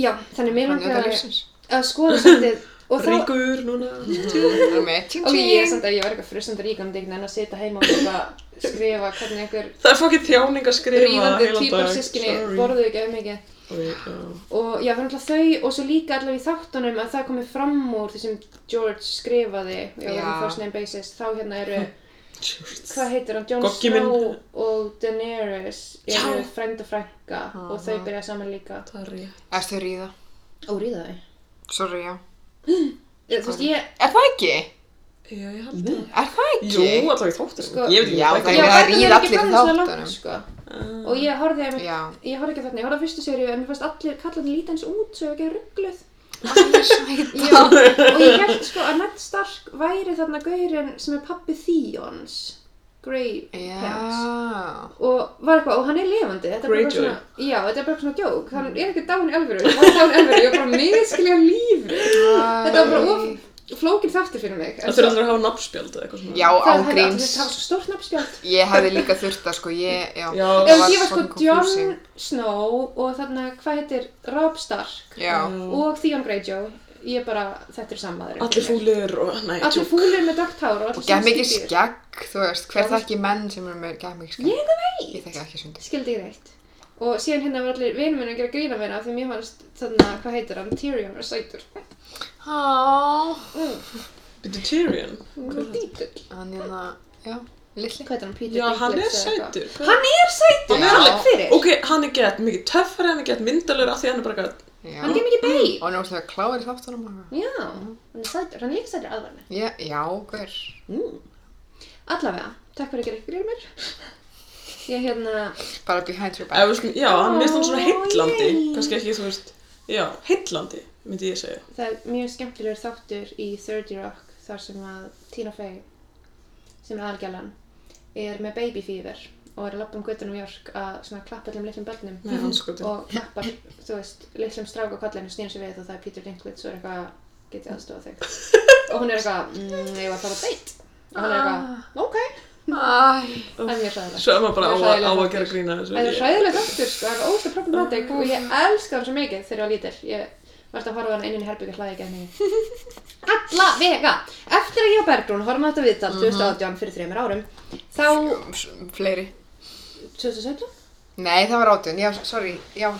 Speaker 1: já, þannig mér
Speaker 3: Hann er
Speaker 1: langar
Speaker 3: það
Speaker 1: að,
Speaker 3: lífsins
Speaker 1: að skoða svolítið og þá
Speaker 2: Ríkur núna.
Speaker 3: Hann er með tjum
Speaker 1: ok, ég er
Speaker 3: tjum
Speaker 1: samt að ég var eitthvað frusandi rík um degna en að sitja heima og bara skrifa hvernig einhver
Speaker 2: Það er fokkið þjáning að skrifa
Speaker 1: rífandi
Speaker 2: heilan
Speaker 1: týpar
Speaker 2: dag, sorry. oh,
Speaker 1: sískinni borðuðu ekki mikið
Speaker 2: Oj, já.
Speaker 1: og já, það er náttúrulega þau og svo líka allavega í þáttunum að það komið fram úr því sem George skrifaði já,
Speaker 3: Já.
Speaker 1: já. First Name Basis, þá hérna eru
Speaker 2: Tjúrts.
Speaker 1: hvað heitir hann, Jon
Speaker 2: Goggi minn.
Speaker 1: Snow og Daenerys eru
Speaker 2: Já.
Speaker 1: frænd og frænka og þau byrja saman líka
Speaker 2: Það er rétt.
Speaker 3: Erst þau ríða?
Speaker 1: og ríða þau
Speaker 3: Sorry, já
Speaker 1: Ég- þú veist, ég,
Speaker 3: Er það ekki?
Speaker 2: Já, ég held það.
Speaker 3: Er það ekki?
Speaker 2: Jú, allavega í þáttunum.
Speaker 1: Sko-
Speaker 2: ég veit ekki
Speaker 3: Já,
Speaker 2: hvað
Speaker 3: það
Speaker 1: já,
Speaker 3: er-
Speaker 2: það er.
Speaker 3: að
Speaker 1: Bækurnar
Speaker 3: ríða
Speaker 1: eru ekki
Speaker 3: allir í
Speaker 1: komnar svo langt,
Speaker 3: þáttunum. Mm.
Speaker 1: sko. og ég horfði einmitt-
Speaker 3: Já
Speaker 1: ég horfði ekki þarna, ég horfði á fyrstu seríu en mér fannst allir kallarnir líta eins út svo ég ekki ruggluð Já, og ég held sko að Ned Stark væri þarna gaurinn sem er pappi Theons Grey Pants
Speaker 3: Já
Speaker 1: og var eitthvað, og hann er lifandi þetta er bara
Speaker 2: Greyjoy.
Speaker 1: eitthvað svona, já, þetta er bara eitthvað svona djók hann er ekki dán í alvöru, hann var dán í alvöru ég var bara miskilja lífi þetta var bara of flókin þáttir fyrir mig
Speaker 2: Það þurfa alltaf að hafa nafnspjald eða eitthvað svona.
Speaker 3: Já,
Speaker 1: það hefði allir
Speaker 3: ángríns
Speaker 1: þetta var svo stórt nafnspjald
Speaker 3: Ég hefði líka þurft að sko, ég, já
Speaker 2: Já.
Speaker 3: það
Speaker 2: Ef
Speaker 1: ef ég var sko
Speaker 3: fucking
Speaker 1: Jon
Speaker 3: confusing.
Speaker 1: Snow og þarna, hvað heitir, Robb Stark
Speaker 3: Já
Speaker 1: og Theon Greyjoy ég bara, þetta er sammaður
Speaker 2: Allir fúlir og, nei,
Speaker 1: allir
Speaker 2: tjúk.
Speaker 1: fúlir með dögt hár og
Speaker 3: Og
Speaker 1: allir
Speaker 3: gæð mikið
Speaker 1: sundskýtur.
Speaker 3: skegg, þú veist, hver þekki menn sem eru með gæð mikið skegg?
Speaker 1: Ég það veit!
Speaker 3: Ég þekki ekki sundið.
Speaker 1: Skildi ég reitt. Og síðan hérna var allir vinur minn að gera grína meina af því mér fannst þarna, hvað heitir hann, Tyrion var sætur.
Speaker 3: Háááá.
Speaker 2: Bittu Tyrion.
Speaker 1: Hann var dítill.
Speaker 3: Hann er það, hérna, já, litli.
Speaker 1: Hvað heitir hann, Peter
Speaker 2: Já, hann er
Speaker 1: Dinklage eða eitthvað?
Speaker 2: sætur.
Speaker 1: Hann er sætur,
Speaker 3: Hann er
Speaker 1: hann
Speaker 3: alveg-
Speaker 1: fyrir.
Speaker 2: Ok, hann er gett mikið töffari, hann er gett myndalur af því hann er bara eitthvað
Speaker 3: Já.
Speaker 1: Hann er mikið
Speaker 3: Og
Speaker 1: beig.
Speaker 3: hann er úrslega kláður í þáttunum og
Speaker 2: Mm.
Speaker 3: eitthvað.
Speaker 1: Já, hann er sætur, hann er líka sætur aðvarni.
Speaker 3: Já, já, hver?
Speaker 1: Mm. Allavega, Takk fyrir að gera ykkur yfir mér. Ég hérna,
Speaker 3: Bara behind your
Speaker 2: Eða,
Speaker 3: back.
Speaker 2: þú veist, já, hann mist hann svona heitlandi,
Speaker 1: Ó, ég.
Speaker 2: kannski ekki, þú veist, já, heitlandi, myndi ég segja.
Speaker 1: það er mjög skemmtilegur þáttur í 30 Rock þar sem að Tina Fey, sem er aðalgjalan, er með baby fever og er að labba um göttunum í York að svona klappa allum litlum börnum
Speaker 2: Nei, anskotin.
Speaker 1: og klappar, þú veist, litlum strák á kollinu snýr sér við og það er Peter Dinklage og er eitthvað, get ég aðstofa þig og hún er eitthvað, mmm, ég var að fara á date og hann er eitthvað, ok
Speaker 3: Æ.
Speaker 1: það er mjög hræðilegt
Speaker 2: Svo er maður bara á,
Speaker 1: Það er
Speaker 2: að- á
Speaker 1: hræðilega
Speaker 2: að gera
Speaker 1: þáttur.
Speaker 2: grína þessu.
Speaker 1: það er
Speaker 2: ég-
Speaker 1: hræðilegt aftur, sko, það er óslega problematic og ég elska hann svo mikið þegar ég var lítil ég var alltaf að horfa á hann inn í herbyggja hlæði ekki að henni alla vega eftir að ég og Bergrún horfum á þetta viðtal
Speaker 3: Mhm.
Speaker 1: 2018 fyrir þreymur árum þá
Speaker 3: Fleiri.
Speaker 1: 2017
Speaker 3: Nei, það var átun. Já, sorry. Já.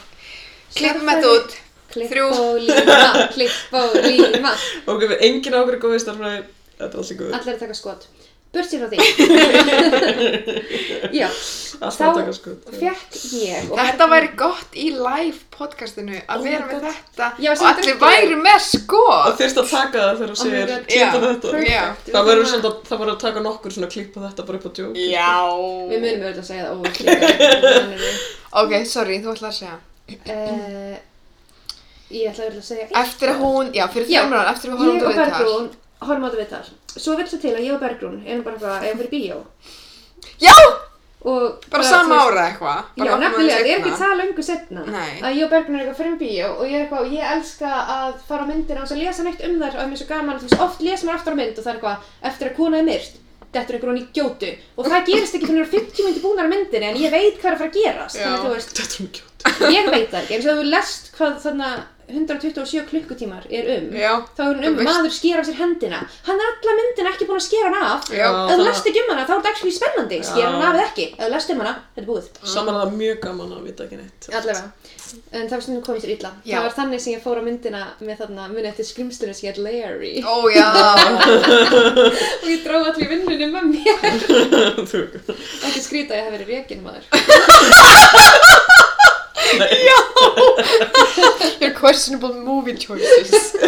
Speaker 3: Klippum
Speaker 1: Stærðfræði-
Speaker 3: þetta út.
Speaker 1: klipp
Speaker 3: Þrjú.
Speaker 1: og líma, klipp og líma
Speaker 2: Ok, við enginn á okkur góði starfræði, þetta er alls í góði,
Speaker 1: allir að taka skot burt sér frá því já,
Speaker 2: alltaf
Speaker 1: þá
Speaker 2: að taka sko.
Speaker 1: fekk ég og hérna-
Speaker 3: Þetta væri gott í live podcastinu
Speaker 2: Oh
Speaker 3: að
Speaker 2: my
Speaker 3: vera með
Speaker 2: God.
Speaker 3: þetta
Speaker 1: Já,
Speaker 3: og
Speaker 1: sem
Speaker 3: allir
Speaker 1: þetta er-
Speaker 3: væri með sko.
Speaker 2: Og
Speaker 3: skot.
Speaker 2: þyrst að taka það þegar þú
Speaker 1: Oh my
Speaker 2: segir,
Speaker 1: God.
Speaker 2: klippa
Speaker 3: Já.
Speaker 2: þetta.
Speaker 1: Perfect.
Speaker 3: Já.
Speaker 1: Við
Speaker 2: Það verður
Speaker 1: þurfum að-
Speaker 2: svona, það verður að taka nokkur svona klippa þetta bara upp á djók.
Speaker 3: Já.
Speaker 1: Við munum auðvitað að segja það óvöldlega.
Speaker 3: Ok, sorry, þú ætlaði að segja.
Speaker 1: uh, ég ætla auðvitað að segja
Speaker 3: Eftir að hún, já, fyrir
Speaker 1: Já.
Speaker 3: þrjumrán, eftir að hún
Speaker 1: Ég og
Speaker 3: horfði á þetta.
Speaker 1: Bergrún horfum á þetta við þar. Svo vill það til að ég og Bergrún erum bara eitthvað, eða fyrir bíó.
Speaker 3: Já,
Speaker 1: Og
Speaker 3: bara
Speaker 1: þú
Speaker 3: sama
Speaker 1: veist-
Speaker 3: ára eitthvað.
Speaker 1: Já,
Speaker 3: nokkrum árum
Speaker 1: nefnilega, það er
Speaker 3: seinna.
Speaker 1: ekki það löngu setna
Speaker 3: Nei.
Speaker 1: að ég og Bergrún er eitthvað fyrir um bíó og ég er eitthvað, ég elska að fara á myndir og að lesa neitt um þær og það er svo gaman, þú veist, oft les maður aftur á mynd og það er eitthvað, eftir að kona er myrkt, dettur einhver hún í gjótu og það gerist ekki þannig að 50 myndir búnar á myndinni en ég veit hvað er að fara að gerast,
Speaker 3: Já.
Speaker 1: þannig að þú veist,
Speaker 2: Þetta er mjög gjótt.
Speaker 1: ég veit það ekki, eins og þú lest hvað þarna 127 klukkutímar er um
Speaker 3: Já,
Speaker 1: þá er hún
Speaker 3: þú
Speaker 1: um
Speaker 3: veist.
Speaker 1: maður skera af sér hendina hann er alla myndina ekki búin að skera hann af
Speaker 3: Já.
Speaker 1: ef þú lest ekki um hana þá er þetta ekki spennandi skera
Speaker 2: Já.
Speaker 1: hann af eða ekki, ef þú lest um hana, þetta er búið
Speaker 2: Saman að það er mjög gaman að vita ekki neitt.
Speaker 1: allavega, en það var stundum komið sér illa
Speaker 3: Já.
Speaker 1: það var þannig sem ég fór á myndina með þarna munið eftir skrimstunum sem ég er Larry
Speaker 3: Ó já,
Speaker 1: og ég dróð allir vinnunum með mér
Speaker 2: Þú-
Speaker 1: ekki skrýta að ég hef verið rekin maður
Speaker 3: your questionable movie choices.
Speaker 2: Oh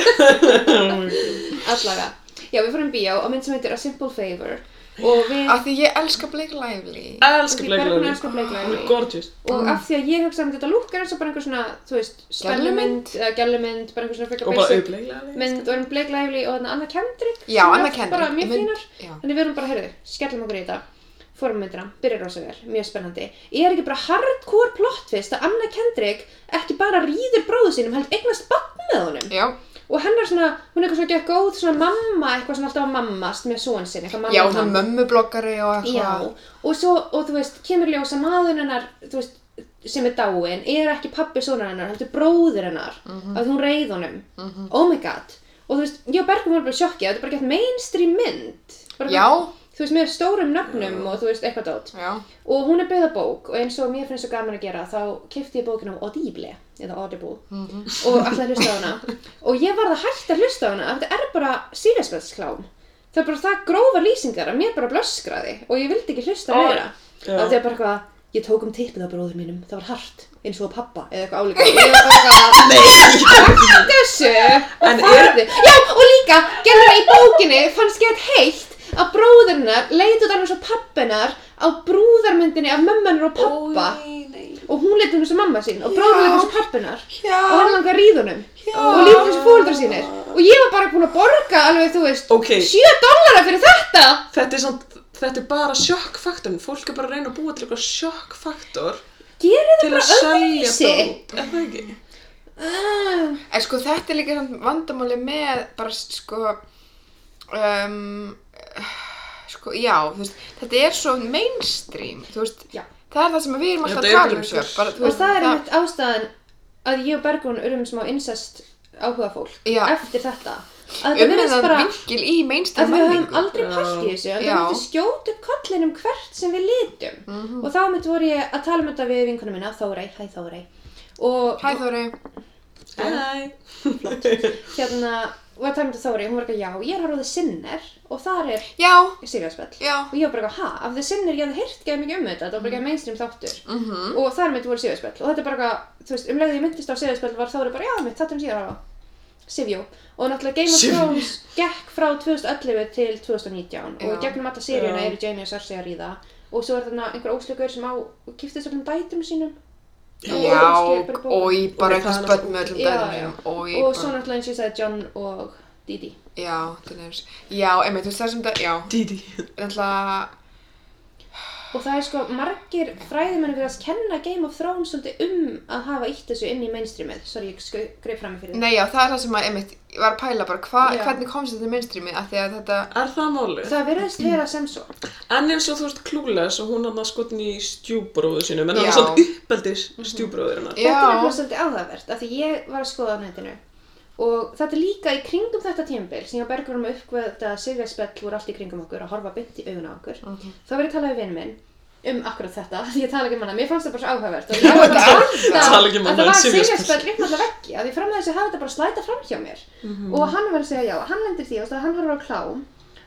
Speaker 2: my God.
Speaker 1: allavega, já við fórum í bíó á mynd sem heitir A Simple Favor og við
Speaker 3: Af því ég elska Blake Lively.
Speaker 2: Elsku
Speaker 1: Því Bergrún
Speaker 2: bleiklæri.
Speaker 1: elskar Blake
Speaker 2: Hún er
Speaker 1: Lively.
Speaker 2: gorgeous.
Speaker 1: og
Speaker 3: Mm.
Speaker 1: af því að ég hugsa um þetta lúkkar eins og bara einhver svona, þú veist, spennumynd eða gælumynd, bara einhver svona frekar
Speaker 2: Og bara sko.
Speaker 1: basic
Speaker 2: auðbleiklæri.
Speaker 1: mynd og erum Blake Lively og þannig Anna Kendrick
Speaker 3: Já,
Speaker 1: sem er
Speaker 3: Anna
Speaker 1: oft
Speaker 3: Kendrick,
Speaker 1: bara mjög
Speaker 3: mynd-
Speaker 1: fínar
Speaker 3: já.
Speaker 1: þannig við erum bara, heyrðu, skellum okkur í þetta fórum í myndina, byrjar rosa vel, mjög spennandi ég er ekki bara hardcore plot twist að Anna Kendrick ekki bara rýður bróðu sínum held eignast bann með honum
Speaker 3: Já,
Speaker 1: og hennar svona, hún er eitthvað svona gekk góð svona mamma, eitthvað svona alltaf að mammast með són sinn, eitthvað mamma
Speaker 3: já,
Speaker 1: hann.
Speaker 3: hún er mömmublokkari og
Speaker 1: Já,
Speaker 3: eitthvað.
Speaker 1: og svo, og þú veist, kemur ljósa maður hennar, þú veist, sem er dáin, er ekki pappi sonar hennar, heldur bróðir hennar, að hún reið honum. Oh my god. Og þú veist, ég og Bergum var bara sjokkið, þetta er bara gett mainstream mynd. Bara,
Speaker 3: Já.
Speaker 1: Þú veist, með stórum nöfnum og þú veist, eitthvað dót.
Speaker 3: Já,
Speaker 1: Og hún er byggða bók og eins og mér finnst svo gaman að gera, þá kefti ég bókina á Audible, eða Audible,
Speaker 2: Mhm.
Speaker 1: og alltaf hlusta á hana. Og ég varð að hætta að hlusta á hana, af þetta er bara síðaspelsklám. Það er bara það grófar lýsingar að mér bara blöskraði og ég vildi ekki hlusta
Speaker 2: Ó,
Speaker 1: meira.
Speaker 2: já.
Speaker 1: Af því að bara eitthvað, ég tók um tippið á bróður mínum, það var hart, eins og á pappa, eða eitthvað álíka. Og Ég var bara eitthvað, hætti þessu
Speaker 2: En
Speaker 1: og
Speaker 2: er-
Speaker 1: farði. Já, og líka, gerður í bókinni fannst gett heitt að bróðurnar leit út annars á pappinar á brúðarmyndinni af mömmunar og pappa og hún leit um þessu mamma sín og bróður leit um þessu pappinar
Speaker 3: Já.
Speaker 1: og hann langar að ríða honum og lítið þessu fólundra sínir og ég var bara búin að borga alveg, þú veist,
Speaker 2: Ok.
Speaker 1: 7 dollara fyrir þetta
Speaker 2: Þetta er, samt, þetta er bara sjokkfaktorn. Fólk er bara að reyna að búa til eitthvað sjokkfaktor
Speaker 1: gerir
Speaker 2: til
Speaker 1: það
Speaker 2: að
Speaker 1: bara
Speaker 2: selja
Speaker 1: öðruvísi
Speaker 2: brót. Er það ekki?
Speaker 1: Ah,
Speaker 3: En sko þetta er líka samt vandamáli með bara sko um, sko já, þú veist, þetta er svo mainstream, þú veist
Speaker 1: Já.
Speaker 3: það er það sem við erum alltaf
Speaker 2: Þetta
Speaker 3: að
Speaker 2: er
Speaker 3: tala um
Speaker 2: bara-
Speaker 3: sér bara, þú
Speaker 1: og það er
Speaker 3: það,
Speaker 1: einmitt ástæðan að ég og Bergrún erum smá incest áhuga fólk
Speaker 3: Já.
Speaker 1: eftir þetta að þetta verðist
Speaker 3: umhennan
Speaker 1: bara
Speaker 3: vinkil í mainstream
Speaker 1: að við höfum
Speaker 3: Um menningu
Speaker 1: aldrei pælt í þessu en
Speaker 3: Já.
Speaker 1: það myndi skjóta upp kollinum hvert sem við litum
Speaker 3: Mhm.
Speaker 1: og þá myndi voru ég að tala um þetta við vinkunum minna Þórei, hæ Þórei og
Speaker 3: Hæ Þóri,
Speaker 2: Æ.
Speaker 1: hérna, og að tala um þetta Þórei hún var eitthvað, já, ég er að ráða sinner og þar er
Speaker 3: já,
Speaker 1: Sirjaspell
Speaker 3: já
Speaker 1: og ég var bara eitthvað, ha, af því sinnir ég hafði heyrt geða mikið um þetta, þetta var bara eitthvað mainstream þáttur
Speaker 3: mm -hmm.
Speaker 1: og þar mitt voru Sirjaspell og þetta er bara eitthvað, þú veist, um leiðið ég myndist á Sirjaspell var þá bara, já, mitt, þetta er um síðan Sivjó og náttúrulega Game of
Speaker 2: Sivjó.
Speaker 1: Thrones gekk frá 2011 til 2019 og
Speaker 3: Já.
Speaker 1: gegnum alla seríuna
Speaker 2: Já.
Speaker 1: eru Jaime og Cersei að ríða og svo er þarna einhver óslökuður sem á kiptist öllum dætum sínum
Speaker 2: Já.
Speaker 1: Og
Speaker 3: Já,
Speaker 1: sker bara í bókum.
Speaker 3: og í bara
Speaker 2: Og það
Speaker 3: eitthvað
Speaker 2: er
Speaker 3: spöld með öllum
Speaker 1: Já,
Speaker 3: dæðum
Speaker 1: já.
Speaker 3: mínum og í
Speaker 1: og
Speaker 3: bara-
Speaker 1: svo náttúrulega eins og ég sagði John og Didi
Speaker 3: já, til þess já, einmitt, þú veist það sem það, já,
Speaker 2: Didi.
Speaker 3: náttúrulega
Speaker 1: og það er sko margir fræðimennu fyrir að kenna Game of Thrones svolítið um að hafa ítt þessu inn í mainstreamið sorry, ég skau- greip fram í fyrir
Speaker 3: Nei, já, það er það sem að, einmitt, ég var að pæla bara, hva,
Speaker 1: Já.
Speaker 3: hvernig komst þetta í mainstreamið, af því að þetta,
Speaker 2: Er það málið?
Speaker 1: það virðist vera sem svo
Speaker 2: En eins og þú veist klúles og hún hann að skotin í stjúbróðu sínum, en hann
Speaker 3: Já.
Speaker 2: er svona uppeldis stjúbróðurinnar.
Speaker 1: Þetta er
Speaker 3: Já.
Speaker 1: nefnilega svolítið áhugavert af því ég var að skoða á netinu og þetta er líka í kringum þetta tímabil sem ég og Bergur um að uppgöða sigðarspell úr allt í kringum okkur og horfa bynt í augun á okkur þá var ég að tala við vinn minn um akkurat þetta því ég tala ekki um hana, mér fannst það bara svo áhugavert og ég var bara að
Speaker 2: Tala ekki
Speaker 1: að
Speaker 2: um hana,
Speaker 1: það var
Speaker 2: sifjaspell.
Speaker 1: sigðarspell upp allar veggi af því fram að þessu hafði þetta bara slæta fram hjá mér
Speaker 2: Mhm.
Speaker 1: og hann var að segja já, hann lendir því og hann horfir á klám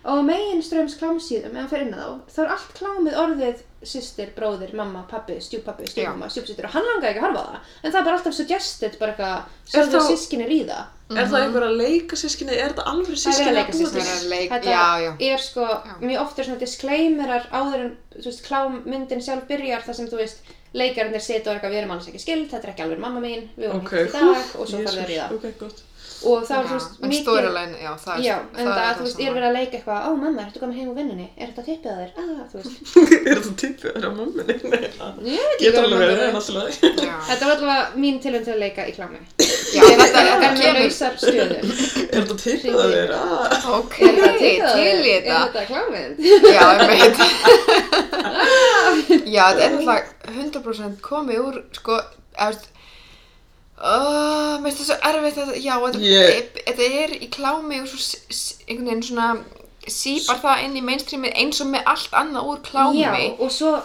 Speaker 1: og á megin ströms klámsíðum ef hann fer inn á þá þá er allt klámið orðið systir, bróðir, mamma, pappi, stjúpappi, stjúpmamma, stjúpsýttir og hann langaði ekki að horfa á það en það er bara alltaf suggested bara eitthvað
Speaker 2: Er
Speaker 1: sérðu
Speaker 2: þá-
Speaker 1: sískinni ríða
Speaker 2: Er það einhver að leika sískinni? Er þetta alveg
Speaker 1: Mm-hmm. Það er
Speaker 2: sískinni
Speaker 1: að leika systkini.
Speaker 3: Það er að leik-
Speaker 1: Þetta
Speaker 3: já, já.
Speaker 1: er sko, mjög oft er svona disclaimerar áður en, þú veist, klámyndin sjálf byrjar þar sem, þú veist, leikarinnir sita og er eitthvað, við erum alls ekki skild, þetta er ekki alveg mamma mín, við vorum
Speaker 2: Ok.
Speaker 1: okay. í dag og svo þarf það að ríða.
Speaker 2: Ok, gott.
Speaker 1: Og þá er, þú
Speaker 3: já,
Speaker 1: veist,
Speaker 3: en storyline, já, það er,
Speaker 1: Já, en
Speaker 3: það
Speaker 1: það,
Speaker 3: er
Speaker 1: þú veist, ég er verið að leika eitthvað, ó mamma, ertu komin heim úr vinnunni, er þetta tippið að þér? Ah, þú veist,
Speaker 2: er það tippið að vera mamminni? Nei, það
Speaker 1: ég veit
Speaker 2: getur alveg verið,
Speaker 1: mamma
Speaker 2: það er
Speaker 1: er.
Speaker 2: náttúrulega.
Speaker 3: Já,
Speaker 1: Þetta var allavega mín tilhund til að leika í klámi.
Speaker 3: já, þetta,
Speaker 1: Þetta
Speaker 3: þetta
Speaker 1: er með
Speaker 3: kemur,
Speaker 1: lausar stöður.
Speaker 2: Er þetta tippið að vera? Ah.
Speaker 3: ok,
Speaker 1: Er þetta
Speaker 3: til
Speaker 1: tippið að þér?
Speaker 3: í
Speaker 1: Er
Speaker 3: þetta,
Speaker 1: þetta klámið?
Speaker 3: já, einmitt, já, þetta er náttúrulega 100% komið úr, sko, eftir, Oh, mér finnst það svo erfitt að, já, þetta, e,
Speaker 2: Ég-
Speaker 3: þetta er í klámi og svo s- s- einhvern veginn svona sípar það inn í mainstreamið eins og með allt annað úr klámi.
Speaker 1: Já, og svo,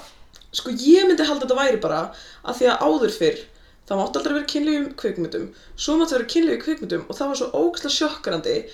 Speaker 2: Sko ég myndi halda að þetta væri bara að því að áður fyrr það mátti aldrei vera kynlífum kvikmyndum svo mátti vera kynlífum kvikmyndum og það var svo ógæslega sjokkarandi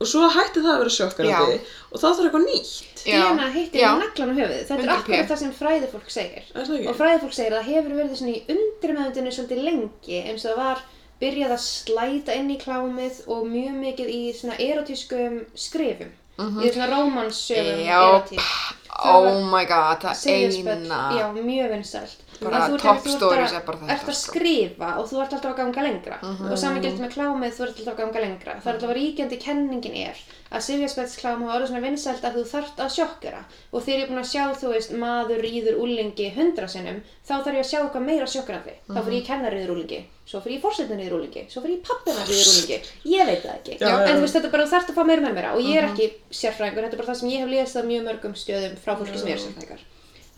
Speaker 2: og svo hætti það að vera sjokkarandi og það þarf eitthvað nýtt
Speaker 3: Já.
Speaker 1: Díana hittir
Speaker 3: Já.
Speaker 1: naglan á höfuðið. Þetta er
Speaker 3: 100p.
Speaker 1: akkurat það sem fræðifólk segir.
Speaker 2: Er það
Speaker 1: Og
Speaker 2: ekki?
Speaker 1: fræðifólk segir að það hefur verið svona í undirmeðundinu svolítið lengi eins og það var byrjað að slæta inn í klámið og mjög mikið í svona erotískum skrifum. Í svona rómanssögum
Speaker 3: Mhm. Já,
Speaker 1: erotík. um Það var-
Speaker 3: Oh my god, það
Speaker 1: Sigurspjöll, já,
Speaker 3: eina
Speaker 1: mjög vinsælt
Speaker 3: Bara
Speaker 1: Að þú ert-
Speaker 3: top
Speaker 1: þú ert
Speaker 3: stories
Speaker 1: bara-
Speaker 3: er bara þetta,
Speaker 1: ert að
Speaker 3: sko. Mhm.
Speaker 1: skrifa og þú ert alltaf að ganga lengra og saman gildi með klámið, þú ert alltaf að ganga lengra það er alltaf að ríkjandi kenningin er að sifjarspetsklám hafa orðið svona vinsælt að þú þart að sjokkera og þegar ég er búin að sjá, þú veist, maður rýður úlingi hundra sinnum, þá þarf ég að sjá eitthvað meira sjokkerandi, þá
Speaker 3: Mhm.
Speaker 1: fyrir ég kennarriður úlingi svo fyrir ég forsetinriður úlingi, svo fyrir ég pappinarriður úlingi, ég veit það ekki
Speaker 2: Já, já,
Speaker 1: en
Speaker 2: já.
Speaker 1: þú veist, þetta er bara þú þarft að fá meira meira meira og ég er
Speaker 3: Mhm.
Speaker 1: ekki sérfræðingur, þetta er bara það sem ég hef lesið á mjög mörgum stöðum frá fólki sem er sérfræðingar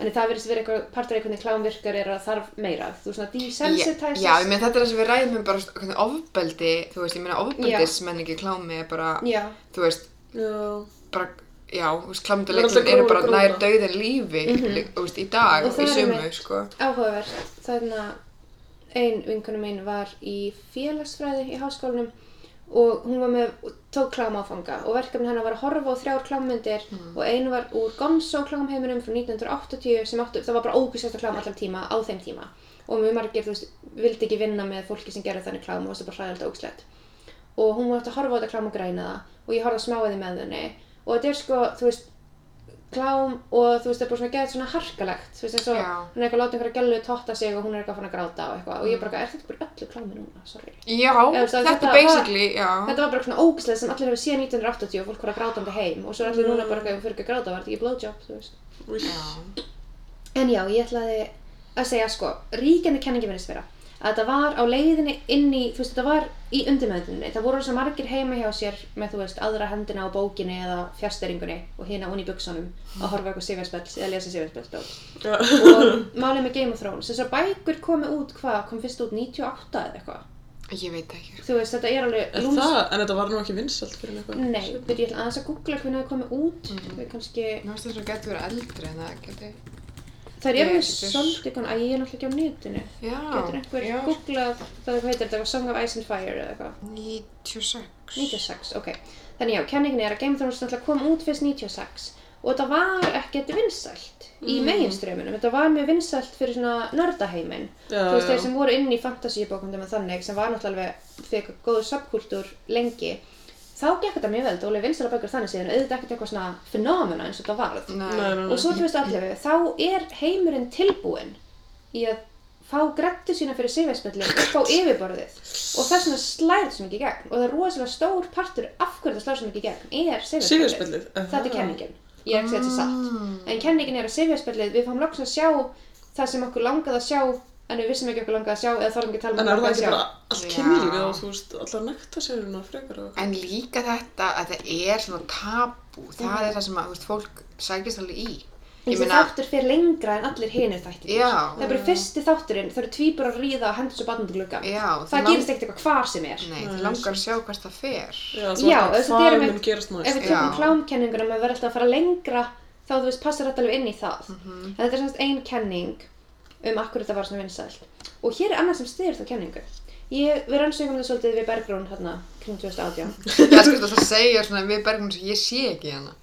Speaker 1: þannig það verðist vera eitthvað partur af hvernig klám virkar er að þarf meira, þú svona
Speaker 3: Já,
Speaker 1: desensitizes
Speaker 3: já, ég meina þetta er það sem við ræðum um bara st- hvernig ofbeldi, þú veist, ég meina ofbeldismenningi í klámi er bara,
Speaker 1: já,
Speaker 3: þú veist,
Speaker 2: Já.
Speaker 3: bara, já, þú veist, klámið
Speaker 2: Það
Speaker 3: og
Speaker 2: er
Speaker 3: leiklum
Speaker 2: alltaf
Speaker 3: eru bara
Speaker 2: grófara,
Speaker 3: nær
Speaker 2: grófara.
Speaker 3: dauðin lífi, lí- þú veist, í dag
Speaker 1: Mhm. Og
Speaker 3: og
Speaker 1: það
Speaker 3: í
Speaker 1: er
Speaker 3: sumu,
Speaker 1: einmitt.
Speaker 3: sko.
Speaker 1: áhugavert þannig að ein vinkonu mín var í félagsfræði í háskólanum og hún var með, tók klámáfanga og verkefni hennar var að horfa á þrjár klámmyndir og einu var úr Gonzo klámheiminum frá 1980 sem áttu, það var bara ógustast klám allan tíma á þeim tíma og mjög margir, þú veist, vildi ekki vinna með fólki sem gerði þannig klám og það var bara hræðilegt og ógslegt og hún átti að horfa á þetta klám og græna það og ég horfði á smáiði með henni og þetta er sko, þú veist klám og þú veist, það er bara svona geðið svona harkalegt þú veist, eins og
Speaker 3: Já.
Speaker 1: hún er eitthvað að láta einhverja gælu totta sig og hún er eitthvað fann að gráta og eitthvað og ég bara, er þetta bara í öllu klámi núna, sorry
Speaker 3: Já,
Speaker 1: þú veist,
Speaker 3: þetta
Speaker 1: þetta-
Speaker 3: basically, já,
Speaker 1: þetta var bara svona ógæslega sem allir hefur síðan 1980 og fólk voru að gráta um þetta heim og svo er allir núna bara eitthvað, ef þú fyrir ekki að gráta, var þetta ekki blowjob, þú veist
Speaker 2: Új.
Speaker 3: já,
Speaker 1: En já, ég ætlaði að segja sko, ríkjandi kenningi verðist vera að þetta var á leiðinni inn í, þú veist, þetta var í undirmeðuninni. Það voru svo margir heima hjá sér með, þú veist, aðra hendina á bókinni eða fjasteringunni og hérna unni í buksunum að horfa á eitthvað sifjarspell eða lesa sifjarspell.
Speaker 2: Já.
Speaker 1: Og málið með Game of Thrones, þessar bækur komu út hvað, kom fyrst út 98 eða eitthvað.
Speaker 3: ég veit ekki.
Speaker 1: Þú veist, þetta er alveg
Speaker 2: Er það? En þetta var nú ekki vinsalt fyrir mig eitthvað
Speaker 1: Nei, við ég ætla aðeins að googla hvernig það komið út.
Speaker 3: Mhm.
Speaker 1: Mm. Kannski,
Speaker 3: Mér finnst þess að getur verið eldri en það getur,
Speaker 1: það
Speaker 3: Ég
Speaker 1: er alveg
Speaker 3: getur-
Speaker 1: svolítið, kon- æ, ég er náttúrulega ekki á netinu.
Speaker 3: já,
Speaker 1: Getur einhver
Speaker 3: já,
Speaker 1: googlað það hvað heitir þetta, eitthvað Song of Ice and Fire eða eitthvað?
Speaker 3: 96.
Speaker 1: 96, ok. Þannig já, kenningin er að Game of Thrones náttúrulega kom út fyrst 96 og þetta var ekkert vinsælt í
Speaker 3: Mhm.
Speaker 2: Mm.
Speaker 1: meginströminum, þetta var mjög vinsælt fyrir svona nördaheimin
Speaker 2: Já,
Speaker 1: þú veist
Speaker 2: já.
Speaker 1: þeir sem voru inn í fantasíubókundum og þannig sem var náttúrulega alveg fyrir góðu subkultúr lengi þá gekk þetta mjög vel, það voru vinsæla bækur þannig síðan auðvitað ekkert eitthvað svona fenómena eins og þetta varð
Speaker 4: Nei.
Speaker 2: Nei, nei, nei.
Speaker 1: og svo til veist allavega, þá er heimurinn tilbúinn í að fá grættu sína fyrir sifjarspillin upp á yfirborðið og þess vegna slær þetta svo mikið í gegn og það er rosalega stór partur af hverju það slær svo mikið í gegn er sifjarspillið
Speaker 2: Sifjaspellið, aha.
Speaker 1: þetta er kenningin, ég er ekki að segja þetta er
Speaker 3: Mm.
Speaker 1: satt en kenningin er að sifjarspillið, við fáum loks að sjá það sem okkur langaði að sjá en við vissum ekki okkur langaði að sjá eða þarfum ekki að tala um
Speaker 2: En er
Speaker 1: okkur langaði
Speaker 2: það ekki
Speaker 1: að
Speaker 2: bara
Speaker 1: sjá.
Speaker 2: allt
Speaker 3: Já.
Speaker 2: kynlífið og þú veist, allar nektarserjuna frekar og
Speaker 3: En líka þetta að það er svona tabú, það
Speaker 1: Mhm.
Speaker 3: er það sem að, þú veist, fólk sækist alveg í. Ég
Speaker 1: Þessi
Speaker 3: meina,
Speaker 1: þáttur fyrir lengra en allir hinir þættir.
Speaker 3: Já.
Speaker 1: Það er bara fyrsti þátturinn, það eru tvíbur að ríða og hendur svo batnandi gluggan.
Speaker 3: Já,
Speaker 1: Það
Speaker 3: það
Speaker 1: gerist ekkert eitthvað hvar sem er.
Speaker 3: nei, það langar að sjá hvert það fer.
Speaker 2: Já,
Speaker 1: Já, ef þetta
Speaker 2: það
Speaker 1: er
Speaker 2: mun
Speaker 1: einmitt- Ef
Speaker 2: gerast næst
Speaker 1: við tökum
Speaker 3: Já.
Speaker 1: klámkenninguna um að vera alltaf að fara lengra, þá þú veist, passar þetta alveg inn í það.
Speaker 3: Mm. Mhm.
Speaker 1: En þetta er semst ein kenning um akkur þetta var svona vinsælt. Og hér er annað sem styrir þá kenningu. Ég, við rannsökum það svolítið við Bergrún hérna kring 2018.
Speaker 3: Ég er svolítið að segja svona við bergum sem ég sé ekki hérna. hana.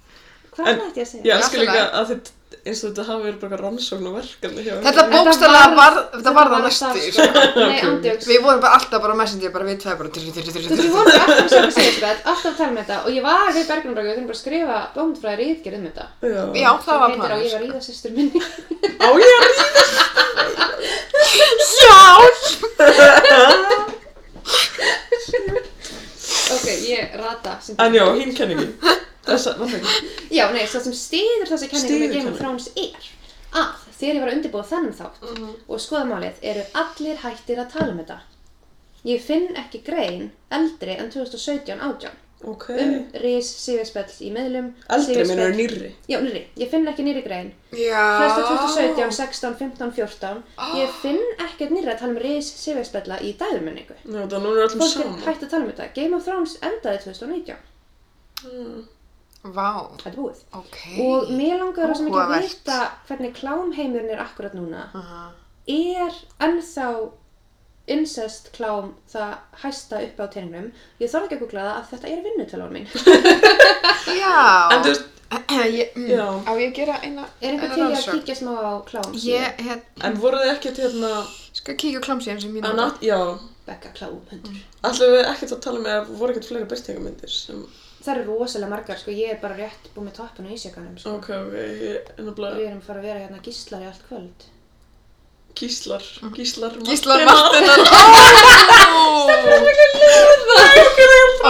Speaker 1: Hvað
Speaker 2: En-
Speaker 1: annað ætti ég að segja?
Speaker 2: Ég elska
Speaker 3: Allt í
Speaker 2: líka
Speaker 3: lagi.
Speaker 2: að þetta eins og þetta hafi verið bara rannsókn og verkefni hjá
Speaker 3: Þetta
Speaker 1: Þetta
Speaker 3: bókstæðlega
Speaker 1: varð-
Speaker 3: var, þetta var það
Speaker 1: varð
Speaker 3: næstu.
Speaker 1: það,
Speaker 3: sko.
Speaker 1: sko. Nei, andjóks.
Speaker 3: Við vorum bara alltaf bara á messenger, bara við tvei bara drr, drr, drr,
Speaker 1: Þú veist,
Speaker 3: drr.
Speaker 1: við vorum bara alltaf að segja þessu þetta, alltaf að tala um þetta og ég var við Bergrún Braga, við þurfum bara að skrifa bóndfræði ríðgerð um þetta.
Speaker 2: Já,
Speaker 3: Já, það var sko.
Speaker 1: heitir á
Speaker 3: planið.
Speaker 1: ég var ríða sýstur minni.
Speaker 2: á ég að um ríða
Speaker 3: Já!
Speaker 1: ok, ég rata. sem
Speaker 2: En já,
Speaker 1: betur fer.
Speaker 2: hinn kenningin Þessa, var það ekki?
Speaker 1: Já, nei, það sem stýður þessa kenningu
Speaker 2: Styður
Speaker 1: með Game of
Speaker 2: kenningu.
Speaker 1: Thrones er að þegar ég var að undirbúa þennan þátt og skoða málið eru allir hættir að tala um þetta. Ég finn ekki grein eldri en 2017-18
Speaker 2: Ok
Speaker 1: um ris, síðarspell í miðlum,
Speaker 2: Eldri minn
Speaker 1: sifjaspell-
Speaker 2: eru nýrri
Speaker 1: Já, nýri. Ég finn ekki nýri grein.
Speaker 3: Já.
Speaker 1: Flesta 2017, 16, 15, 14.
Speaker 3: Ah.
Speaker 1: Ég finn ekkert nýra að tala um ris, sifjarspella í dæðurmenningu.
Speaker 2: Já, það núna er öllum
Speaker 1: Fólk er
Speaker 2: saman
Speaker 1: hægt að tala um þetta. Game of Thrones endaði 2019.
Speaker 2: Mm.
Speaker 3: Vá,
Speaker 1: Þetta er búið.
Speaker 3: ok.
Speaker 1: Og mér langar rosa mikið að
Speaker 3: Áhugavert.
Speaker 1: vita hvernig klámheimurinn er akkurat núna.
Speaker 3: Aha.
Speaker 1: Er ennþá incest klám það hæsta upp á teiningnum? Ég þarf ekki að googla það að þetta er vinnutalón mín.
Speaker 3: Já.
Speaker 2: En þú veist,
Speaker 3: Ég- mm.
Speaker 2: já
Speaker 4: Á ég að gera eina...
Speaker 1: Er einhver
Speaker 3: En
Speaker 1: til í að
Speaker 3: rannsókn.
Speaker 1: kíkja smá á klám?
Speaker 3: Ég, hér,
Speaker 2: En voru þið ekkert hérna
Speaker 3: skal kíkja á klámsíðan sem ég
Speaker 2: að
Speaker 3: nota.
Speaker 2: nat- Já,
Speaker 1: Bekka klám, hundur.
Speaker 2: ætlum við ekkert að tala með að voru ekkert fleiri byrtingamyndir sem
Speaker 1: Það eru rosalega margar, sko. Ég er bara rétt búin með toppun og ísjakanum, sko.
Speaker 2: Ok, ok, ég er
Speaker 1: Við
Speaker 2: nefnilega
Speaker 1: erum fara að vera hérna gíslar í allt kvöld.
Speaker 2: Gíslar Gíslar
Speaker 3: Mhm. Gíslar
Speaker 2: Marteina.
Speaker 3: Martinan. Ó!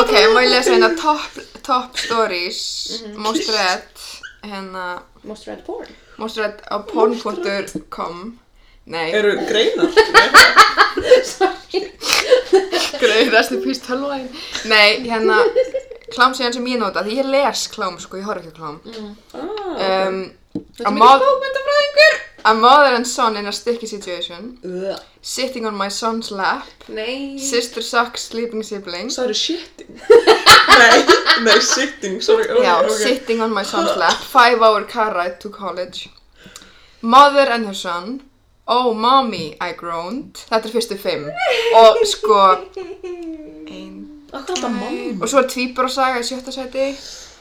Speaker 3: Ok, má ég lesa hérna top, top stories,
Speaker 1: Mhm.
Speaker 3: most read, hérna,
Speaker 1: Most read porn.
Speaker 3: most read á porn.com, nei,
Speaker 2: Eru greinar?
Speaker 1: Sorry.
Speaker 3: greið, rest in peace, tölvæn, nei, hérna, klám síðan sem ég nota, því ég les klám, sko, ég horf ekki á klám,
Speaker 2: Ah,
Speaker 3: um,
Speaker 1: Þetta
Speaker 3: a,
Speaker 1: er
Speaker 3: mod,
Speaker 1: mikið bókmyndafræðingur.
Speaker 3: a mother and son in a sticky situation,
Speaker 2: okay.
Speaker 3: sitting on my son's lap,
Speaker 1: Nei.
Speaker 3: sister sucks sleeping siblings,
Speaker 2: Særu shitting? nei, nei, sitting, sorry. ok,
Speaker 3: Já,
Speaker 2: ok.
Speaker 3: sitting on my son's lap, five hour car ride to college. Mother and her son, oh mommy, I groaned. Þetta er fyrstu fimm. Og sko, ein,
Speaker 2: Akkur alltaf mamma.
Speaker 3: og svo er tvíburasaga í sjötta sæti,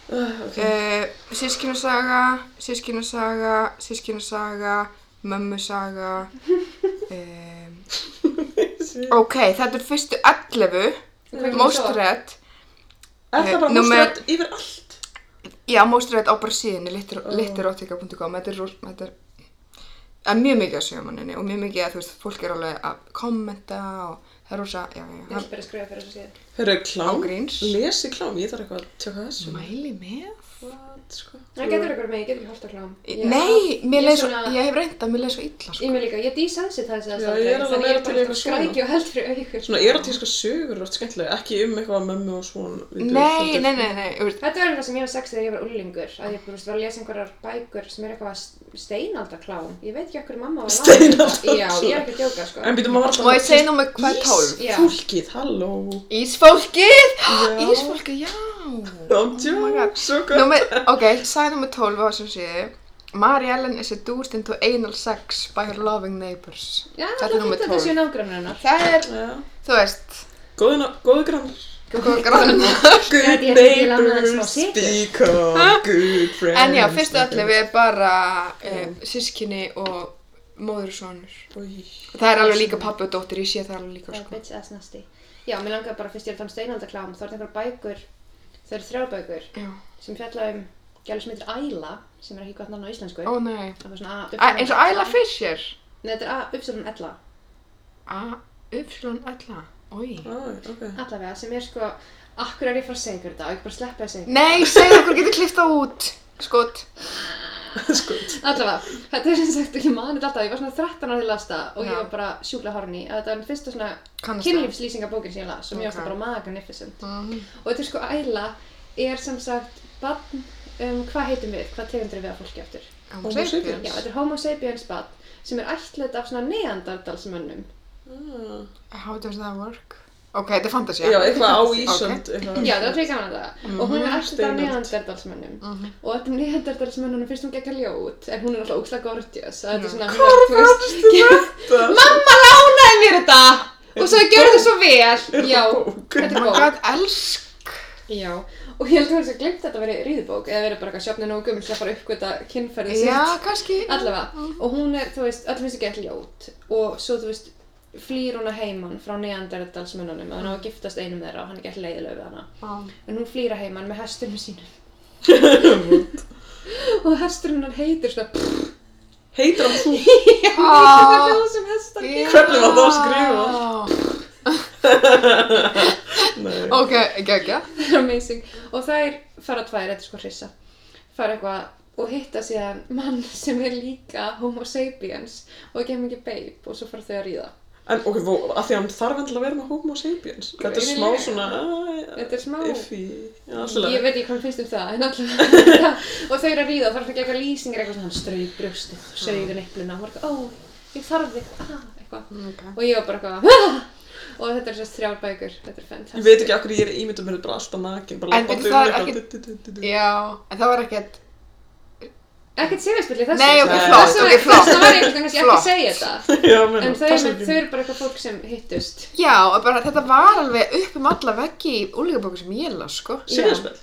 Speaker 2: Uh, ok.
Speaker 3: uh, sískinusaga, sískinusaga, sískinusaga, mömmusaga. Um, ok, þetta er fyrstu 11,
Speaker 1: Hvað kemur
Speaker 3: most
Speaker 1: svo?
Speaker 3: read.
Speaker 2: Er það bara
Speaker 3: númer-
Speaker 2: mostrætt yfir allt?
Speaker 3: Já, most read á bara síðinni literotika.com þetta er, rúl- þetta er, er mjög mikið að segja manninni og mjög mikið að þú veist, fólk er alveg að kommenta og það er rosa, já, já,
Speaker 1: Ég
Speaker 3: já.
Speaker 1: ætla bara að skrifa fyrir þessu síðan.
Speaker 2: Hörru, klám?
Speaker 3: Ágríns.
Speaker 2: Lesi klám, ég þarf eitthvað að tjóka þessu.
Speaker 3: Mæli með?
Speaker 2: What, sko?
Speaker 1: Það getur eitthvað með, ég get ekki hort að klám. Ég-
Speaker 3: Nei, mér
Speaker 1: Ég
Speaker 3: leið svo,
Speaker 1: svona-
Speaker 3: ég hef reynd að mér leið svo illa, sko.
Speaker 1: Ég með líka, ég desensitize það
Speaker 2: Já,
Speaker 1: aldrei,
Speaker 2: ég er alveg
Speaker 1: þannig
Speaker 2: meira
Speaker 1: ég
Speaker 2: til
Speaker 1: bara
Speaker 2: eitthvað svona.
Speaker 1: skræki og held fyrir augur.
Speaker 2: Svona erotíska sögur er oft skemmtilega, ekki um eitthvað mömmu og svona.
Speaker 3: Nei, nei, nei, nei, þú veist,
Speaker 1: Þetta var eitthvað sem ég var sex þegar ég var ullingur, að ég búist var að lesa einhverjar bækur sem er eitthvað st- steinaldaklám. Ég veit ekki okkur mamma var að laga þetta.
Speaker 2: Steinaldarklám.
Speaker 1: Já, ég er ekki að djóka, sko.
Speaker 2: En býtum maður alltaf...
Speaker 3: má ég segja númer hvað tólf?
Speaker 1: Já.
Speaker 2: Fólkið, halló.
Speaker 3: Ísfólkið!
Speaker 2: Já.
Speaker 3: Ísfólkið, já! Oh
Speaker 2: I'm
Speaker 3: my god.
Speaker 2: joking, so good.
Speaker 3: Númer, ok, sæði númer tólf á þessum síðu. Mary Ellen is seduced into anal sex by her loving neighbors.
Speaker 1: Já,
Speaker 3: Þetta er
Speaker 1: það
Speaker 3: númer
Speaker 1: finnst þetta
Speaker 3: 12.
Speaker 1: séu nágrannar hennar.
Speaker 3: Það er,
Speaker 2: Já.
Speaker 3: þú veist,
Speaker 2: Góðu, góðu grannar.
Speaker 3: Góð grannar.
Speaker 2: Good
Speaker 1: ég- ég lánaði þér smá
Speaker 2: neighbors
Speaker 1: sykur.
Speaker 2: speak of good friends
Speaker 3: En já, fyrst og allir við bara um, sískinni og móður og sonur.
Speaker 2: Új.
Speaker 3: Það er alveg líka pappi og dóttir, ég sé það alveg líka,
Speaker 1: Það er
Speaker 3: sko.
Speaker 1: bitch ass nasty. Já, mér langaði bara fyrst ég er að tala um steinaldaklám, þá er það einhver bækur, þau eru þrjár bækur
Speaker 3: Já.
Speaker 1: sem fjalla um gælu sem heitir Æla, sem er ekki gott nafn á íslensku.
Speaker 3: Ó, nei.
Speaker 1: Það var svona A,
Speaker 3: Æ, eins og Æla Fisher.
Speaker 1: Nei, þetta er A, uppsöfnum Ella.
Speaker 3: A, uppslun Æla. Ói.
Speaker 2: Ó, ok.
Speaker 1: Allavega, sem er sko, akkur er ég að fara að segja ykkur þetta og ekki bara að sleppa að segja ykkur.
Speaker 3: Nei, segðu okkur getur klifta út. Skot.
Speaker 2: Sko,
Speaker 1: Allavega, þetta er sem sagt, ég mani þetta alltaf, ég var svona 13 ára til að lasta og
Speaker 3: Já.
Speaker 1: ég var bara sjúkla horni að þetta var den fyrsta svona
Speaker 3: Kannast það.
Speaker 1: kynlífslýsingabókin sem ég las og mér varst
Speaker 3: Ok.
Speaker 1: það bara magnificent.
Speaker 3: Mhm.
Speaker 1: Og þetta er sko æla, er sem sagt, bann, um, hvað heitum við, hvað tegundur við að fólki aftur?
Speaker 3: Homo
Speaker 2: sapiens.
Speaker 1: Já,
Speaker 3: sapiens.
Speaker 1: þetta er homo sapiens bann sem er ætlet af svona neandardalsmönnum.
Speaker 2: ah.
Speaker 3: How does that work? Ok, þetta er fantasía.
Speaker 2: Já, eitthvað á Ísönd eitthvað.
Speaker 1: Já, það er alveg gaman að það. Og hún er ætlet af
Speaker 2: Steinöld.
Speaker 1: neandardalsmönnum.
Speaker 3: Mhm.
Speaker 1: Og þetta er neandardalsmönnunum finnst hún gekka ljót, en hún er alltaf ógslag gorgeous. að Þetta er svona,
Speaker 2: Hvað
Speaker 1: þú veist,
Speaker 2: fannstu þetta?
Speaker 1: Mamma lánaði mér þetta og sagði gerðu þetta svo vel
Speaker 2: þetta
Speaker 1: Já,
Speaker 2: bók?
Speaker 1: þetta
Speaker 3: Oh
Speaker 1: er
Speaker 3: my
Speaker 1: bók
Speaker 3: god, elsk.
Speaker 1: Já, og ég held að það sé glemt að þetta verið ríðbók eða verið bara eitthvað sjöfnið nógu gömul til að fara upp þetta kynferðið
Speaker 3: Já,
Speaker 1: sitt
Speaker 3: kannski.
Speaker 1: Allavega, og hún er, þú veist, öll finnst ekki ekki ljót og svo, þú veist, flýr hún að heiman frá neanderdalsmönnunum að hann á að giftast einum þeirra og hann er ekki alltaf leiðilega við hana
Speaker 3: Já.
Speaker 1: en hún flýr að heiman með hestunum sínum og hesturinn hennar heitir svona
Speaker 2: Heitir hann þú?
Speaker 1: það er hljóð sem hestar gera.
Speaker 2: Hvernig var það að skrifa? Nei.
Speaker 3: Ok, geggja.
Speaker 1: Það er amazing. Og þær fara tvær, þetta er sko hrissa, fara eitthvað og hitta síðan mann sem er líka homo sapiens og ekki mikið babe og svo fara þau að ríða.
Speaker 2: En ok, vó, að því að hann þarf endilega að vera með homo sapiens. Þetta er smá
Speaker 1: Greinilega.
Speaker 2: svona... ah,
Speaker 1: Þetta er smá...
Speaker 2: Iffy. Já,
Speaker 1: Ég
Speaker 2: alltaf.
Speaker 1: veit ekki hvað mér finnst um það, en allavega. og þau eru að ríða og þarf ekki eitthvað lýsingar eitthvað svona, hann strauð brjóstið, sögðu nefluna, og var eitthvað, ó, ég þarf þig, ah, eitthvað. Og ég var bara eitthvað, ah! og þetta er sérst þrjár bækur, þetta er fantastisk.
Speaker 2: Ég veit ekki okkur ég er ímyndum mér bara alltaf nakin, bara
Speaker 3: En
Speaker 2: labba
Speaker 3: veitu,
Speaker 2: á
Speaker 3: það er
Speaker 2: dögum,
Speaker 3: ekki-
Speaker 2: du- du- du- du- du.
Speaker 3: Já, en það var ekkert...
Speaker 1: Ekkert sérfjöspill í þessu.
Speaker 3: Nei, ok,
Speaker 1: sko.
Speaker 2: flott,
Speaker 1: Þess vegna-
Speaker 3: ok, flott.
Speaker 1: Þess vegna var ég einhvern veginn kannski ekki
Speaker 3: Flott.
Speaker 1: að segja þetta.
Speaker 2: Já, meina,
Speaker 1: En þau,
Speaker 2: passa
Speaker 1: men,
Speaker 2: ekki.
Speaker 1: þau eru bara eitthvað fólk sem hittust.
Speaker 3: Já, og bara þetta var alveg upp um alla veggi í úlíkabóku sem ég las, sko.
Speaker 2: Sirjaspell.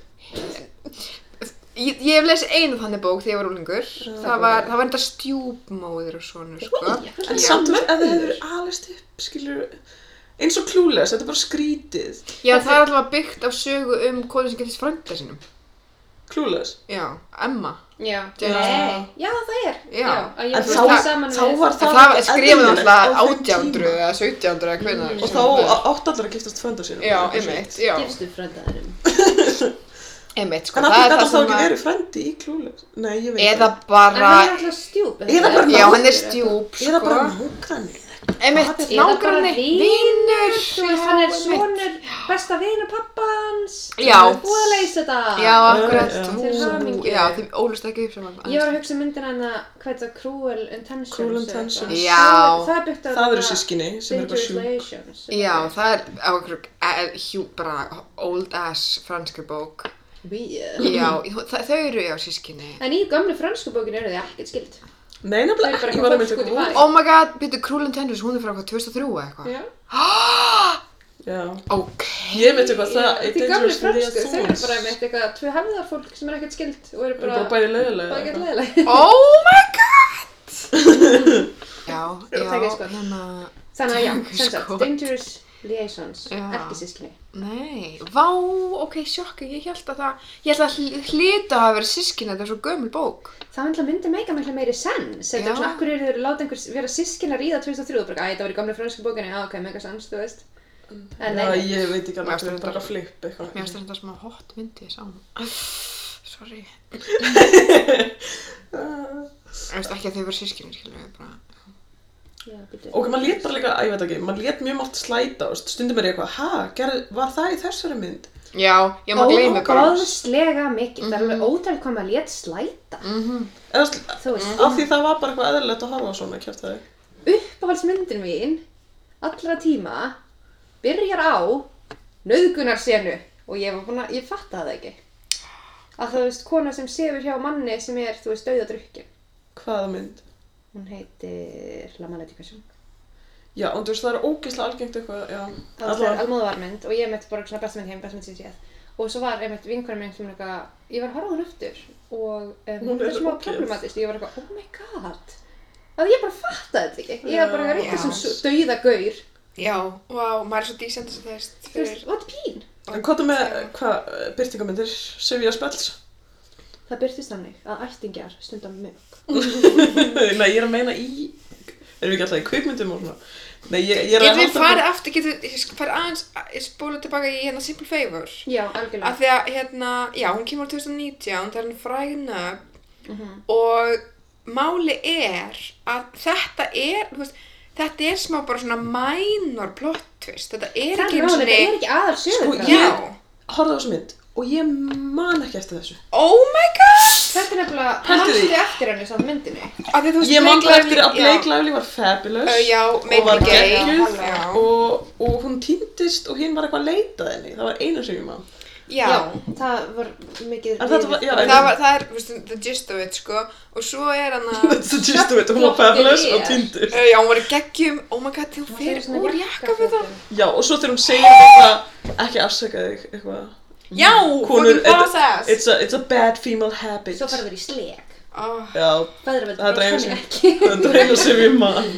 Speaker 3: Ég, ég hef lesið einu þannig bók þegar ég var úlingur. Það var, það var enda stjúpmóðir og svona, sko.
Speaker 2: En
Speaker 3: Já.
Speaker 2: samt veist, ef þið hefur alist upp, skilur, eins og klúles, þetta er bara skrítið.
Speaker 3: Já, það er alltaf byggt af sögu um konu sem getist frænda sínum.
Speaker 2: Klúles.
Speaker 3: Já, Emma.
Speaker 1: Já.
Speaker 3: James
Speaker 1: Nei. Já, það er.
Speaker 3: Já.
Speaker 1: að
Speaker 2: En
Speaker 1: ég
Speaker 2: þá-
Speaker 1: fór þá, saman
Speaker 2: þá
Speaker 1: við...
Speaker 2: var
Speaker 3: Það,
Speaker 2: Það
Speaker 3: það
Speaker 2: var
Speaker 3: var skrifað
Speaker 2: eðlilegt
Speaker 3: alltaf
Speaker 2: á þeim tíma.
Speaker 3: 1800 eða 1700 eða hvernig.
Speaker 2: Og þá átt allar að giftast frönda sínum.
Speaker 3: Já, einmitt, já.
Speaker 1: Gifstu fröndaðurum.
Speaker 3: Einmitt, sko.
Speaker 2: En allir
Speaker 3: það er
Speaker 2: gætast þá
Speaker 3: það
Speaker 2: ekki
Speaker 3: sem að...
Speaker 2: verið frendi í klúles. Nei, ég veit
Speaker 3: Eða
Speaker 1: En
Speaker 3: bara...
Speaker 1: hann er alltaf stjúp. er
Speaker 2: Eða
Speaker 1: það
Speaker 2: bara
Speaker 1: ekki?
Speaker 3: Já, hann er stjúp,
Speaker 2: Eða bara
Speaker 3: sko.
Speaker 2: nákvæmni.
Speaker 3: Einmitt,
Speaker 1: Eða bara
Speaker 3: nágranni.
Speaker 1: vinur,
Speaker 3: Vinnur.
Speaker 1: Þú veist, hann er sonur besta vina pappans.
Speaker 3: Já.
Speaker 1: Búið að leysa þetta.
Speaker 3: Já,
Speaker 2: Já,
Speaker 3: akkurat.
Speaker 2: já.
Speaker 1: Til
Speaker 3: Ú,
Speaker 1: hamingju.
Speaker 3: Já, þeim ólust ekki upp sem hann.
Speaker 1: Ég var að hugsa um myndina hana, hvað er það, Cruel Intentions?
Speaker 2: Cruel
Speaker 1: eða
Speaker 2: Intentions.
Speaker 1: eitthvað.
Speaker 3: Já.
Speaker 1: Það- Það er byggt á hérna
Speaker 2: Það eru
Speaker 1: þarna
Speaker 2: sískinni sem eru bara
Speaker 1: Dangerous
Speaker 2: sjúk.
Speaker 1: Relations.
Speaker 3: Já, það er á einhverjum eh, hjú, bara old ass franskri bók.
Speaker 1: Weird.
Speaker 3: Já, þa- þau eru já sískinni.
Speaker 1: En í gamlu fransku bókinu eru þið ekkert skild.
Speaker 2: Nei,
Speaker 1: Þau eru
Speaker 2: nefnilega,
Speaker 1: bara
Speaker 2: ég var að
Speaker 1: eitthvað
Speaker 2: mynda
Speaker 1: fólk út í
Speaker 2: eitthvað.
Speaker 1: bæ.
Speaker 3: Oh my god, byrju Krúlin Tenders, hún er frá hvað, 2003 eða eitthvað?
Speaker 1: Já.
Speaker 2: Já.
Speaker 3: Ok.
Speaker 2: Ég myndi eitthvað það,
Speaker 1: Þetta er gamli
Speaker 2: Dangerous
Speaker 1: fransku, þau eru bara
Speaker 2: Liaisons.
Speaker 1: með eitthvað tvö hefðar fólk sem er ekkert skild og eru
Speaker 2: Þau eru
Speaker 1: bara
Speaker 2: bara bæði leiðilega.
Speaker 1: bæði leðileg.
Speaker 3: Oh my god! já, já,
Speaker 1: Ég tek eitt skot.
Speaker 3: hérna,
Speaker 1: Þannig að já, sem sagt,
Speaker 3: Skot.
Speaker 1: Dangerous Liaisons,
Speaker 3: Sko. Já.
Speaker 1: ekki sískinni.
Speaker 3: nei, vá, ok, sjokk, ég held að það, ég held að hl- hlita að hafa verið sískinni, þetta er svo gömul bók.
Speaker 1: Það myndi myndi meika miklu meiri sens, þetta
Speaker 3: Já.
Speaker 1: er svona, akkur eru þau láta einhver vera sískinni að ríða 2003 og bara, æ, það var í gamlu fransku bókinni, já, ok, meika sens, þú veist. En
Speaker 2: Já,
Speaker 1: nei,
Speaker 2: ég veit ekki alveg,
Speaker 3: Mér
Speaker 2: þetta er
Speaker 3: finnst
Speaker 2: bara
Speaker 3: þetta-
Speaker 2: flip
Speaker 3: Mér
Speaker 2: eitthvað.
Speaker 3: finnst þetta smá hot myndi, ég sá hún. Sorry.
Speaker 2: Ah.
Speaker 3: Ég veist ekki að þau verið sískinni, skilur við bara.
Speaker 1: já, býttu.
Speaker 2: Ok, maður létt bara líka, að ég veit ekki, maður létt mjög margt slæta og stundum er ég eitthvað, ha, gerð, var það í þessari mynd?
Speaker 3: Já, ég má gleymi bara. Mhm.
Speaker 1: Ógóðslega mikið, það er alveg ótrúlega hvað maður lét slæta,
Speaker 2: Eða, sl-
Speaker 1: þú veist.
Speaker 2: af því það var bara eitthvað eðlilegt að horfa á svona, kjæft það
Speaker 1: Uppáhaldsmyndin mín, allra tíma, byrjar á nöðgunarsenu og ég var búin að, ég fatta það ekki. Að það, þú veist, kona sem sefur hjá manni sem er, þú veist, dauða drukkin.
Speaker 2: Hvaða mynd?
Speaker 1: Hún heitir, hlama leti hversum.
Speaker 2: Já, og þú veist, það er ógeðslega algengt eitthvað, já.
Speaker 1: Það var
Speaker 2: Allavega.
Speaker 1: það almóðvarmynd og ég mitt bara svona besta mynd heim, besta mynd sem ég séð og svo var einmitt vinkunum minn sem eitthvað, ég var að horfa á hún aftur og um,
Speaker 2: Hún
Speaker 1: það
Speaker 2: er
Speaker 1: er smá
Speaker 2: ógeð.
Speaker 1: problematist, ég var eitthvað, oh my god að ég bara fatta þetta ekki ég var bara
Speaker 2: Já.
Speaker 1: eitthvað
Speaker 3: Já.
Speaker 1: sem dauða gaur
Speaker 3: Já, vá, maður er svo dísend þess að það
Speaker 1: þú
Speaker 3: er
Speaker 1: veist,
Speaker 3: fyrir
Speaker 1: what pín
Speaker 2: En hvað er með, hvað, byrtingamindir, Sivja Spells?
Speaker 1: það byrtist þannig að ættingjar stundum mjög
Speaker 2: Nei, ég er að meina í, erum við ekki alltaf í kvikmyndum og svona? Nei, ég, ég er að
Speaker 3: Getur við farið aftur, getur við farið aðeins spóla tilbaka í hérna Simple Favor
Speaker 1: já,
Speaker 3: að
Speaker 1: algjörlega
Speaker 3: því að hérna, já, hún kemur á 2019, það er hann frægna
Speaker 1: Mhm.
Speaker 3: og máli er að þetta er, þú veist, þetta er smá bara svona minor plot twist, þetta er
Speaker 1: það
Speaker 3: ekki
Speaker 1: er
Speaker 3: einu
Speaker 1: ráðan, þetta er
Speaker 3: sinni,
Speaker 1: ekki aðal sögur
Speaker 2: Sko,
Speaker 3: já,
Speaker 2: Horða á þessu mynd og ég man ekki eftir þessu.
Speaker 3: oh my god,
Speaker 1: þetta er nefnilega,
Speaker 2: Pældu því.
Speaker 1: haldi eftir henni samt myndinni
Speaker 3: að því þú veist,
Speaker 2: Ég man
Speaker 3: Blake
Speaker 2: bara eftir að
Speaker 3: Lively-
Speaker 2: Blake
Speaker 3: já.
Speaker 2: Lively var fabulous
Speaker 3: Ö, já,
Speaker 2: og
Speaker 3: made
Speaker 2: var
Speaker 3: me gay,
Speaker 2: geggjuð
Speaker 3: já, já.
Speaker 2: og, og hún týndist og hinn var eitthvað að leita að henni. Það var eina sem ég man.
Speaker 3: Já,
Speaker 1: það var mikið
Speaker 2: En þetta var- já, en-
Speaker 3: það, var, það er, veist, the gist of it, sko, og svo er hann að,
Speaker 2: That's the gist of it, hún var fabulous og týndist.
Speaker 3: Ah. Ö, já, hún var í geggjum, oh my god, þú
Speaker 1: fyrir
Speaker 3: fyrir
Speaker 1: svona
Speaker 3: úr jakka við það,
Speaker 1: jakkafötum.
Speaker 2: Já, og svo þegar hún segir um eitthvað, ekki afsaka þig, eitthvað.
Speaker 3: já,
Speaker 2: Konur,
Speaker 3: fucking boss ass,
Speaker 2: It's a, it's a bad female habit.
Speaker 1: svo farður í sleg
Speaker 3: oh.
Speaker 2: Já,
Speaker 1: Feðraveldi
Speaker 2: Það er
Speaker 1: brást
Speaker 2: einu
Speaker 1: henni
Speaker 2: sinni.
Speaker 1: ekki
Speaker 2: þetta er eina sem ég man.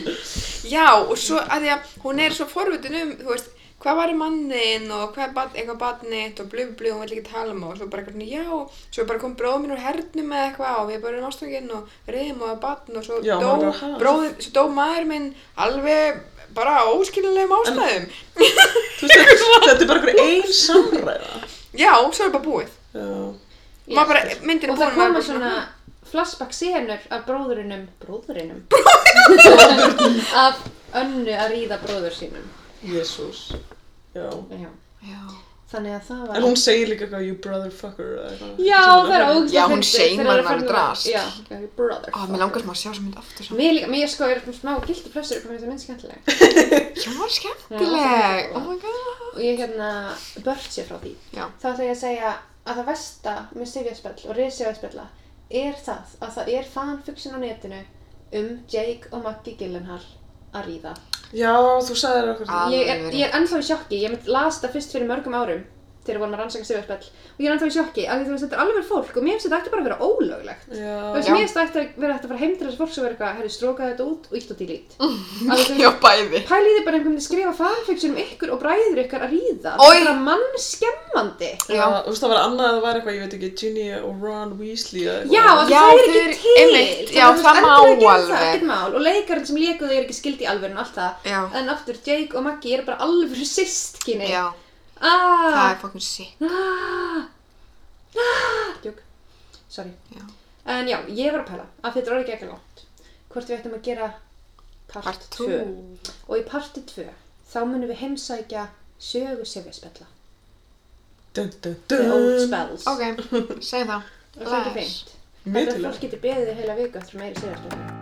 Speaker 3: Já, og svo að því að hún er svo forvitin um, þú veist, hvað var mannin og hvað er bat, eitthvað batnitt og blub blub, hún vill ekki tala um það og svo bara eitthvað, svona, já, svo bara kom bróð minn úr hernum eða eitthvað og við bara erum ástofnginn og reyðum og batn og svo
Speaker 2: Já, maður bara,
Speaker 3: dó
Speaker 2: ha?
Speaker 3: bróð, svo dó maður minn alveg bara á óskililegum ástæðum.
Speaker 2: Þú veist, þetta- þetta er bara einhver ein samræða.
Speaker 3: Já, svo er bara búið.
Speaker 2: Já.
Speaker 1: Já.
Speaker 3: Maður bara, myndin
Speaker 1: og
Speaker 3: er
Speaker 1: það
Speaker 3: búin
Speaker 1: koma svona flashback senur af bróðurinnum bróðurinnum af önnu að ríða bróður sínum
Speaker 2: Jésús. Já.
Speaker 1: já.
Speaker 5: Já.
Speaker 1: þannig að það var
Speaker 2: En hún segir líka eitthvað, you brotherfucker, eða eitthvað.
Speaker 1: já það er ógust
Speaker 5: Já, hún seimar hana alveg drast.
Speaker 1: já, já, brother
Speaker 5: Ó, mér langar sem að sjá sem mynd aftur saman.
Speaker 1: Mér líka, mér sko er smá gildi plössur hvað mér þetta minn skemmtileg
Speaker 5: Já, hún var skemmtileg. Oh my god.
Speaker 1: og ég hérna bört sér frá því
Speaker 5: Já.
Speaker 1: þá ætla ég að segja að það versta með sifjarspell og risifjarspella er það að það er fanfiction á netinu um Jake og Maggie Gyllenhaal að ríða
Speaker 2: Já, þú sagðir okkur það.
Speaker 5: Alveg
Speaker 1: ég er,
Speaker 5: verið.
Speaker 1: ég er ennþá í sjokki, ég mynd las þetta fyrst fyrir mörgum árum þegar við vorum að rannsaka sifjarspell og ég er ennþá í sjokki af því þú veist þetta er alveg verið fólk og mér finnst þetta ekki bara að vera ólöglegt Þú
Speaker 2: Já.
Speaker 1: veist,
Speaker 5: Já.
Speaker 1: mér finnst þetta eftir að vera eftir að fara heim til þessi fólk sem vera eitthvað, herri, strókaði þetta út og ítt og delete.
Speaker 5: Já, bæði.
Speaker 1: Pæliði bara einhvern veginn að skrifa fanfiction um ykkur og bræður ykkar að ríða.
Speaker 5: Oj.
Speaker 1: Það er bara mannskemmandi.
Speaker 5: Já.
Speaker 2: Já, þú veist, það var annað að það var eitthvað, ég veit ekki, Ginny og Ron Weasley eða
Speaker 1: Já,
Speaker 2: eitthvað.
Speaker 1: af því
Speaker 5: Já,
Speaker 1: það er
Speaker 5: þau
Speaker 1: ekki
Speaker 5: eru- einmitt, já, það má alveg.
Speaker 1: til. þú veist, endilega gerðu Það er ekkert mál. Og leikarinn sem léku þau er ekki skildi í alvörinu allt það.
Speaker 5: Já.
Speaker 1: En aftur, Jake og Maggie eru bara alvöru systkinni.
Speaker 5: Já, það
Speaker 1: Ah,
Speaker 5: er fucking sick.
Speaker 1: ah, ah, djúk. Sorry.
Speaker 5: Já.
Speaker 1: En já, ég var að pæla, af því þetta er orðið ekki ekki langt. Hvort við ættum að gera part
Speaker 5: Part
Speaker 1: 2.
Speaker 5: 2.
Speaker 1: Og í parti 2, þá munum við heimsækja sögu sifjarspella.
Speaker 2: Dun, dun,
Speaker 1: The old
Speaker 2: dun.
Speaker 1: spells.
Speaker 5: Ok, segi það.
Speaker 1: Og það er ekki
Speaker 5: Bless.
Speaker 1: fínt.
Speaker 2: Mjög
Speaker 1: Þetta
Speaker 2: til
Speaker 1: fólk getur beðið í heila viku eftir meiri sko. sifjarspella.